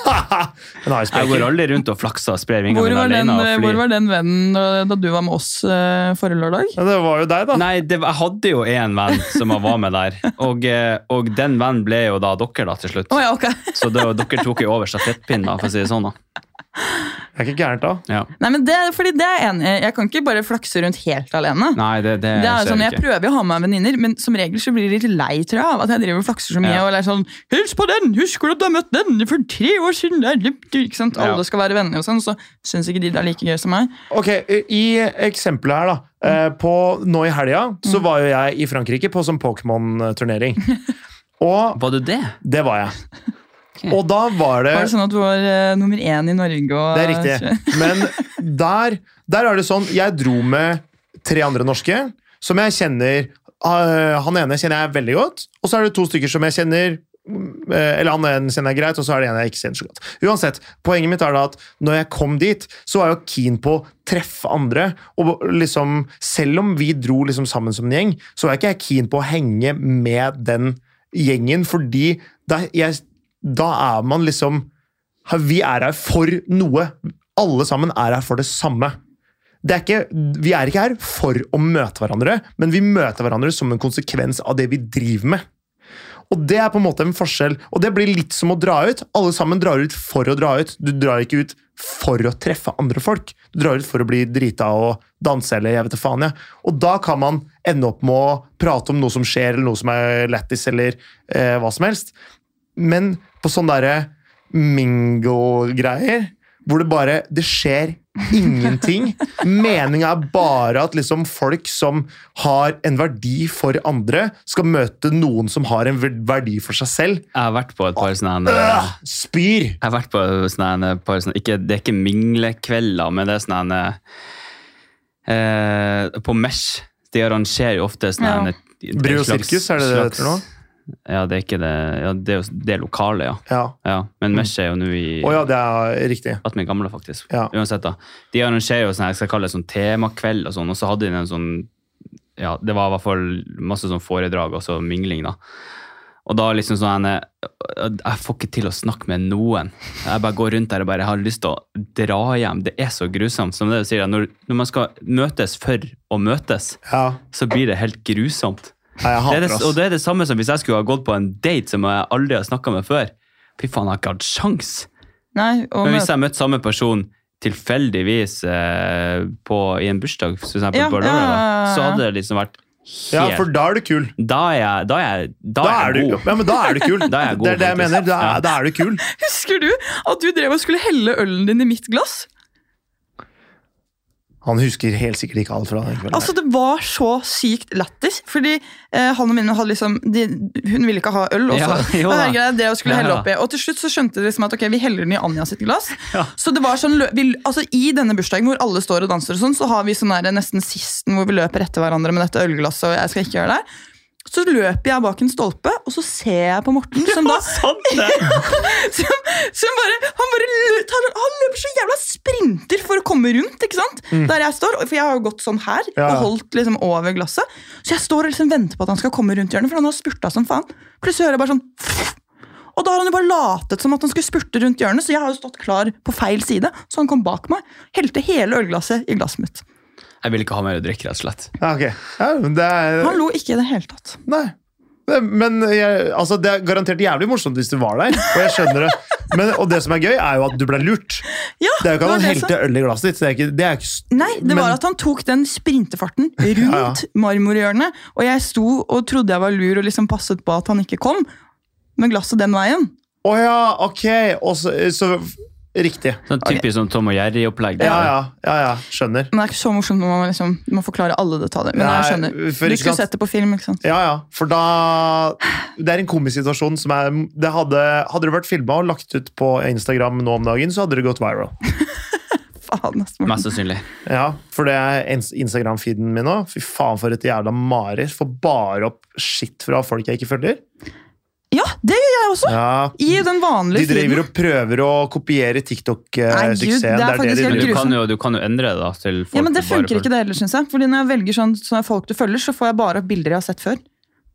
Speaker 3: Den har jeg
Speaker 2: Jeg går
Speaker 3: spreker.
Speaker 2: aldri rundt og flakser og sprer vingene
Speaker 1: Hvor
Speaker 2: mine
Speaker 1: var, den, eh,
Speaker 2: alene og
Speaker 1: hvor
Speaker 2: flyr.
Speaker 1: var den vennen da, da du var med oss eh, forrige lørdag?
Speaker 3: Ja, det var jo deg, da.
Speaker 2: Nei, det, jeg hadde jo en venn som jeg var med der, og, eh, og den vennen ble jo da dere da til slutt.
Speaker 1: Å ja, ok.
Speaker 2: Så det, var- dere tok jo over stafettpinnen, da, for å si det sånn. da.
Speaker 3: Det er ikke gærent, da.
Speaker 2: Ja.
Speaker 1: Nei, men det, fordi det er jeg enig. i. Jeg kan ikke bare flakse rundt helt alene.
Speaker 2: Nei, det, det,
Speaker 1: Det er jo
Speaker 2: Eh, ser
Speaker 1: sånn,
Speaker 2: jeg
Speaker 1: Jeg
Speaker 2: ikke.
Speaker 1: prøver jo å ha med meg venninner, men som regel så blir de litt lei tror jeg, av at jeg driver og flakser så mye.
Speaker 2: Ja.
Speaker 1: og er sånn, 'Hils på den! Husker du at du har møtt den for tre år siden?' Det er litt- ikke sant?
Speaker 2: Ja.
Speaker 1: Alle skal være venner, og sånn, så syns ikke de det er like gøy som meg.
Speaker 3: Ok, eh, I eksempelet her, da. eh, På, nå i helga så var jo jeg i Frankrike på sånn Pokémon-turnering. Og
Speaker 2: Var du det?
Speaker 3: det var jeg. Og da var det
Speaker 1: Var det sånn at du var eh, nummer én i Norge? Og,
Speaker 3: Det er riktig. Men der, der er det sånn Jeg dro med tre andre norske som jeg kjenner eh, Han ene kjenner jeg veldig godt, og så er det to stykker som jeg kjenner eh, eller han ene kjenner jeg greit, og så er det en jeg ikke kjenner så godt. Uansett, Poenget mitt er da at når jeg kom dit, så var jeg jo keen på å treffe andre. Og liksom, selv om vi dro liksom sammen som en gjeng, så var jeg ikke jeg keen på å henge med den gjengen, fordi da, jeg, da er man liksom her- Vi er her for noe. Alle sammen er her for det samme. Det er ikke, vi er ikke her for å møte hverandre, men vi møter hverandre som en konsekvens av det vi driver med. Og det er på en måte en forskjell, og det blir litt som å dra ut. Alle sammen drar ut for å dra ut. Du drar ikke ut for å treffe andre folk. Du drar ut for å bli drita og danse eller jeg vet da faen. jeg. Og da kan man ende opp med å prate om noe som skjer, eller noe som er lættis, eller eh, hva som helst. Men på sånn derre mingo-greier, hvor det bare Det skjer ingenting. Meninga er bare at liksom folk som har en verdi for andre, skal møte noen som har en ver- verdi for seg selv.
Speaker 2: Jeg har vært på et par sånne her- eh,
Speaker 3: Øh, spyr!
Speaker 2: Jeg har vært på sånne, en par sånne ikke, Det er ikke minglekvelder, men det er sånne en, eh, På Mesh de arrangerer jo ofte sånne
Speaker 1: Ja.
Speaker 2: en- en
Speaker 3: Bry og
Speaker 2: slags-
Speaker 3: sirkus, er det det
Speaker 2: slags-
Speaker 3: det heter nå?
Speaker 2: Ja, det er ikke det ja, Det er jo det er lokale, ja.
Speaker 3: Ja.
Speaker 2: ja. Men Mesh er jo nå i
Speaker 3: Mm. Å ja, det er riktig.
Speaker 2: at vi er gamle, faktisk.
Speaker 3: Ja.
Speaker 2: Uansett, da. De arrangerer jo sånn, jeg skal kalle det sånn temakveld og sånn, og så hadde de en sånn Ja, det var i hvert fall masse sånn foredrag og så mingling, da. Og da liksom sånn Jeg jeg får ikke til å snakke med noen. Jeg bare går rundt der og bare har lyst til å dra hjem. Det er så grusomt. Som det du sier, når, når man skal møtes for å møtes,
Speaker 3: Ja.
Speaker 2: så blir det helt grusomt.
Speaker 3: Nei, jeg
Speaker 2: Det er
Speaker 3: hater
Speaker 2: det,
Speaker 3: oss.
Speaker 2: og det er det samme som hvis jeg skulle ha gått på en date som jeg aldri har snakka med før. Fy faen, jeg har ikke hatt sjans'.
Speaker 1: Nei, og
Speaker 2: Men
Speaker 1: møte,
Speaker 2: hvis jeg møtte samme person tilfeldigvis eh, på, i en bursdag, for eksempel,
Speaker 1: Ja,
Speaker 2: på
Speaker 1: ja,
Speaker 2: lørdag,
Speaker 1: ja,
Speaker 2: da,
Speaker 1: ja.
Speaker 2: så hadde det liksom vært helt
Speaker 3: Ja, for da er du kul.
Speaker 2: da, er jeg, da, er jeg, da,
Speaker 3: Da
Speaker 2: er
Speaker 3: er du,
Speaker 2: jeg god.
Speaker 3: ja, men da er du kul.
Speaker 2: Da er jeg god,
Speaker 3: det er det jeg
Speaker 2: faktisk.
Speaker 3: mener. Da
Speaker 2: Ja.
Speaker 3: er, da er du kul.
Speaker 1: Husker du at du drev og skulle helle ølen din i mitt glass?
Speaker 3: Han husker helt sikkert ikke alt fra den kvelden.
Speaker 1: Altså, Det var så sykt lættis. Fordi eh, han og mine hadde liksom de, Hun ville ikke ha øl. Også.
Speaker 2: Ja, jo
Speaker 1: Og
Speaker 2: da.
Speaker 1: herregud, det er det jeg skulle
Speaker 2: Ja,
Speaker 1: helle
Speaker 2: ja.
Speaker 1: oppi. Og til slutt så skjønte de liksom at ok, vi heller den i Anja sitt glass. Så det var sånn, lø- vi, altså I denne bursdagen hvor alle står og danser, og sånn, så har vi sånn der, nesten sisten hvor vi løper etter hverandre med dette ølglasset. og jeg skal ikke gjøre det. Så løper jeg bak en stolpe, og så ser jeg på Morten, som da som, som bare, han, bare lø- tar- han løper så jævla sprinter for å komme rundt, ikke sant? Der jeg står, for jeg har jo gått sånn her
Speaker 3: Mm. Ja, ja.
Speaker 1: og holdt liksom over glasset. Så jeg står og liksom venter på at han skal komme rundt hjørnet, for han har spurta som faen. Plutselig hører jeg bare sånn og da har han jo bare latet som at han skulle spurte rundt hjørnet, så jeg har jo stått klar på feil side. Så han kom bak meg, helte hele ølglasset i glasset mitt.
Speaker 2: Jeg vil ikke ha mer å drikke, rett og slett.
Speaker 3: Ja, ok. ja, men det er,
Speaker 1: Han lo ikke i det hele tatt.
Speaker 3: Nei. Det- Men jeg, altså, det er garantert jævlig morsomt hvis du var der. Og jeg skjønner det. Men, og det som er gøy, er jo at du ble lurt.
Speaker 1: Ja,
Speaker 3: Det er jo ikke at han
Speaker 1: var det som-
Speaker 3: helte øl i glasset ditt. så Det er ikke, det er ikke s-
Speaker 1: Nei, det
Speaker 3: men-
Speaker 1: var at han tok den sprintefarten rundt
Speaker 3: Ja,
Speaker 1: marmorhjørnet, og jeg sto og trodde jeg var lur og liksom passet på at han ikke kom, med glasset den veien.
Speaker 3: Å ja, ok. Og så, så Riktig.
Speaker 2: Sånn typisk sånn Tom og Jerry-opplegg. det
Speaker 3: Ja,
Speaker 2: er-
Speaker 3: ja, ja, ja, skjønner.
Speaker 1: Men det er ikke så morsomt når man liksom, må forklare alle detaljer. Men jeg
Speaker 3: Nei,
Speaker 1: skjønner.
Speaker 3: for
Speaker 1: Du
Speaker 3: ikke sant?
Speaker 1: skulle sett det på film, ikke sant?
Speaker 3: Ja, ja, for da Det er en komisk situasjon som er det hadde, hadde det vært filma og lagt ut på Instagram nå om dagen, så hadde det gått viral.
Speaker 1: Faen, ass, Morten.
Speaker 2: Mest sannsynlig.
Speaker 3: Ja, for det er ins- Instagram-feeden min nå. Fy faen, for et jævla mareritt. Får bare opp shit fra folk jeg ikke følger.
Speaker 1: Ja, det gjør jeg også!
Speaker 3: Ja,
Speaker 1: I den
Speaker 3: De
Speaker 1: vanlige
Speaker 3: driver
Speaker 1: filmen.
Speaker 3: og prøver å kopiere
Speaker 1: Nei, Gud, det er
Speaker 3: TikTok-suksessen. Det er det
Speaker 1: faktisk helt
Speaker 3: de
Speaker 2: Men
Speaker 3: driver
Speaker 2: du
Speaker 3: med.
Speaker 2: kan, jo, du kan jo endre det da, til folk
Speaker 1: Ja, men Det
Speaker 2: som bare
Speaker 1: funker ikke det heller, syns jeg. Fordi når jeg velger sånn, sånne folk du følger, så får jeg bare opp bilder jeg har sett før.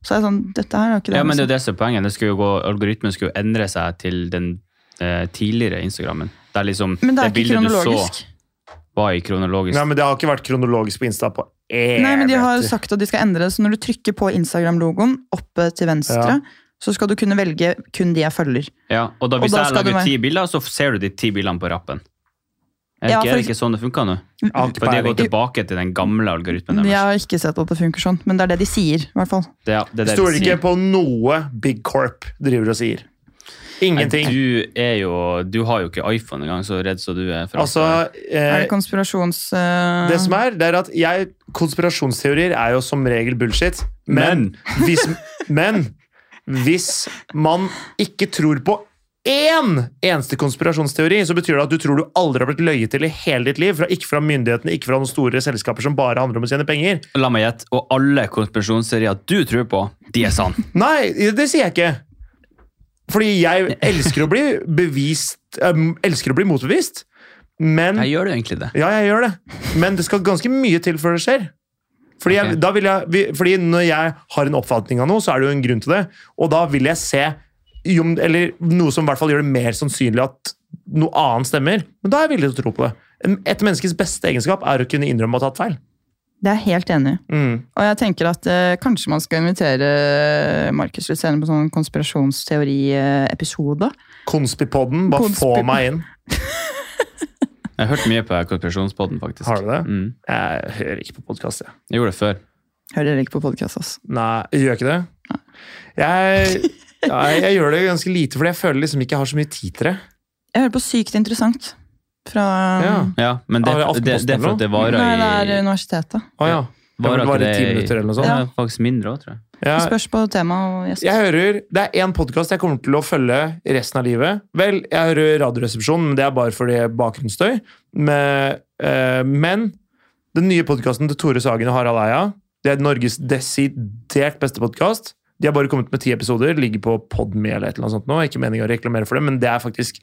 Speaker 1: Så er jeg sånn, dette her er jo ikke det.
Speaker 2: Ja, men
Speaker 1: liksom.
Speaker 2: det er jo det som er poenget. Det skulle jo gå, algoritmen skulle jo endre seg til den eh, tidligere Instagrammen. Der liksom
Speaker 1: men det
Speaker 2: det,
Speaker 1: er ikke
Speaker 2: bildet du så,
Speaker 1: kronologisk.
Speaker 2: var i kronologisk.
Speaker 3: Nei, men Det har ikke vært kronologisk på Insta på evigheter.
Speaker 1: Nei, men De har sagt at de skal endre det, så når du trykker på Instagram-logoen oppe til venstre,
Speaker 3: Ja.
Speaker 1: så skal du kunne velge kun de jeg følger.
Speaker 2: ja, og da
Speaker 1: Og
Speaker 2: Hvis
Speaker 1: da
Speaker 2: jeg
Speaker 1: skal du
Speaker 2: lager
Speaker 1: være-
Speaker 2: ti bilder, så ser du de ti bildene på rappen. Er det,
Speaker 1: Ja,
Speaker 2: ikke,
Speaker 1: for
Speaker 2: er det ikke sånn det funker nå?
Speaker 3: Har ikke
Speaker 2: For de
Speaker 3: peiling.
Speaker 2: går tilbake til den gamle algoritmen
Speaker 1: Jeg
Speaker 2: deres.
Speaker 1: har ikke sett på at det funker sånn, men det er det de sier. i hvert fall.
Speaker 2: Det, er- det, er det
Speaker 3: Stoler
Speaker 2: de sier.
Speaker 3: ikke på noe Big Corp driver og sier. Ingenting.
Speaker 2: Nei, Du, er jo, du har jo ikke iPhone engang, så redd som du er for
Speaker 3: Altså,
Speaker 2: alt.
Speaker 1: Er
Speaker 3: eh,
Speaker 1: det konspirasjons... eh,
Speaker 3: det som er, det er at jeg Konspirasjonsteorier er jo som regel bullshit. Men, hvis, men hvis man ikke tror på én eneste konspirasjonsteori, så betyr det at du tror du aldri har blitt løyet til i hele ditt liv. Fra, ikke fra myndighetene, ikke fra noen store selskaper som bare handler om å tjene penger.
Speaker 2: La meg gjette. Og alle konspirasjonsserier du tror på, de er sann.
Speaker 3: Nei, det sier jeg ikke. Fordi jeg elsker å bli bevist em, Elsker å bli motbevist. Men
Speaker 2: Jeg gjør det jo egentlig det.
Speaker 3: Ja, jeg gjør det. Men det skal ganske mye til før det skjer. Fordi, jeg,
Speaker 2: Ok.
Speaker 3: da vil jeg, vi- fordi når jeg har en oppfatning av noe, så er det jo en grunn til det. Og da vil jeg se jo- eller noe som i hvert fall gjør det mer sannsynlig at noe annet stemmer. Men da er jeg villig til å tro på det. En- Et menneskes beste egenskap er å kunne innrømme å ha tatt feil.
Speaker 1: Det er jeg helt enig i.
Speaker 3: Mm.
Speaker 1: Og jeg tenker at eh, kanskje man skal invitere eh, Markus litt senere på sånn konspirasjonsteori-episode.
Speaker 3: Konspipodden, bare
Speaker 1: Konspi-
Speaker 3: få meg inn.
Speaker 2: Jeg har hørt mye på konspirasjonspodden, faktisk.
Speaker 3: Har du det?
Speaker 2: Mm.
Speaker 3: Jeg hører ikke på podkast, jeg.
Speaker 2: Jeg gjorde det før.
Speaker 1: Hører ikke på podkast, ass.
Speaker 3: Nei, gjør jeg ikke det? Jeg, jeg, jeg gjør det ganske lite, fordi jeg føler liksom ikke jeg har så mye tid til det.
Speaker 1: Jeg hører på Sykt interessant fra
Speaker 3: Ja.
Speaker 2: Ja, men det,
Speaker 3: Har jeg
Speaker 2: det,
Speaker 3: Aftenposten
Speaker 2: det er for at det varer
Speaker 1: Nei, det
Speaker 2: i
Speaker 1: er eh, universitetet.
Speaker 3: Å ja. Det
Speaker 2: varer
Speaker 3: var
Speaker 2: ikke
Speaker 3: bare
Speaker 2: det
Speaker 3: ti
Speaker 2: i-
Speaker 3: minutter eller noe sånt.
Speaker 2: Ja, faktisk mindre òg, tror jeg.
Speaker 3: Ja.
Speaker 1: Spørs på tema og gjest.
Speaker 3: Jeg hører, Det er én podkast jeg kommer til å følge resten av livet. Vel, jeg hører Radioresepsjonen, men det er bare fordi bakgrunnsstøy. Men, eh, men den nye podkasten til Tore Sagen og Harald Eia, det er Norges desidert beste podkast. De har bare kommet med ti episoder, ligger på Podme eller et eller annet sånt nå. Ikke meningen å reklamere for det, men det er faktisk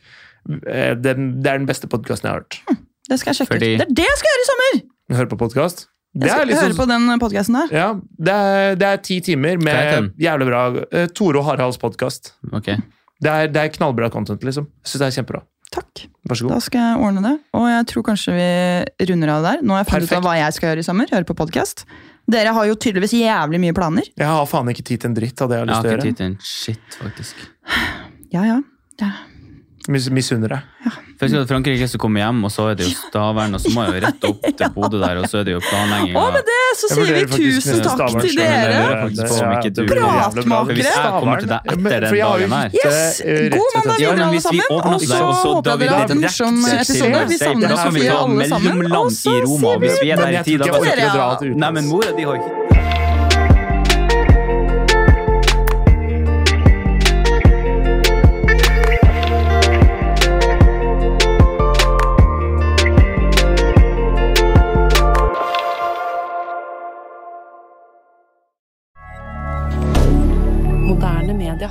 Speaker 3: eh, den, det er den beste podkasten jeg har hørt.
Speaker 1: Det skal jeg sjekke
Speaker 2: Fordi-
Speaker 1: ut. Det er det jeg skal gjøre i sommer!
Speaker 3: Hør på podkast. Det
Speaker 1: Jeg
Speaker 3: er
Speaker 1: skal
Speaker 3: liksom
Speaker 1: høre på den podkasten der.
Speaker 3: ja, det er, det er ti timer
Speaker 2: Hva
Speaker 3: med
Speaker 2: heter den?
Speaker 3: jævlig bra eh, Tore og Haralds podkast.
Speaker 2: Ok.
Speaker 3: Det er, det er knallbra content, liksom. Jeg synes det er kjempebra.
Speaker 1: Takk.
Speaker 3: Vær så
Speaker 1: Da
Speaker 3: god.
Speaker 1: skal jeg ordne det. Og jeg tror kanskje vi runder av der. Nå har jeg funnet ut
Speaker 3: Perfekt.
Speaker 1: av hva jeg skal gjøre i sommer. Høre på podkast. Dere har jo tydeligvis jævlig mye planer.
Speaker 3: Jeg har faen ikke tid til en dritt av det jeg har
Speaker 2: Jeg
Speaker 3: lyst
Speaker 2: har
Speaker 3: til å
Speaker 2: ikke tid
Speaker 3: gjøre.
Speaker 2: til en shit, faktisk.
Speaker 1: Ja, ja.
Speaker 3: Mis, misunner deg.
Speaker 2: For jeg skal til Frankrike, så kommer jeg hjem, og så er det jo Stavern, og så må jeg jo rett opp til Bodø der, og så er det jo planlegging.
Speaker 1: Og
Speaker 2: av-
Speaker 1: med det så
Speaker 3: Jeg
Speaker 1: sier vi
Speaker 3: vurderer faktisk
Speaker 1: tusen takk
Speaker 3: Stavern
Speaker 1: til
Speaker 3: selv, men
Speaker 1: dere.
Speaker 3: jeg
Speaker 2: dere.
Speaker 3: lurer faktisk
Speaker 2: Det-
Speaker 3: på om ikke du-
Speaker 1: Pratmakere!
Speaker 3: For hvis jeg kommer til deg
Speaker 2: etter den
Speaker 3: for jeg har jo
Speaker 2: dagen her-
Speaker 3: gitt,
Speaker 1: Yes!
Speaker 3: eh, rett
Speaker 1: God
Speaker 3: og slett-
Speaker 1: mandag
Speaker 2: Ja,
Speaker 1: videre,
Speaker 2: men
Speaker 1: alle
Speaker 2: hvis vi
Speaker 1: sammen.
Speaker 2: ordner
Speaker 1: Og
Speaker 2: oss
Speaker 1: så
Speaker 2: der, og så
Speaker 1: håper
Speaker 2: drar
Speaker 1: jeg
Speaker 2: vi
Speaker 1: dere har
Speaker 2: dit
Speaker 1: hatt en
Speaker 2: rett
Speaker 1: morsom
Speaker 2: til
Speaker 1: episode. Vi
Speaker 2: Sydney.
Speaker 1: savner
Speaker 2: Da
Speaker 1: å
Speaker 2: kan vi
Speaker 1: si
Speaker 2: ta
Speaker 1: alle sammen.
Speaker 2: mellomland
Speaker 1: Og
Speaker 2: i
Speaker 1: så sier
Speaker 2: Roma,
Speaker 1: vi
Speaker 2: hvis vi er
Speaker 3: Men
Speaker 2: der i
Speaker 3: jeg
Speaker 2: tida.
Speaker 3: tror ikke jeg
Speaker 1: da.
Speaker 3: orker å dra
Speaker 1: Dere-
Speaker 3: til
Speaker 2: Nei, men
Speaker 3: utlandet.
Speaker 2: mora di har ikke
Speaker 4: Moderne media.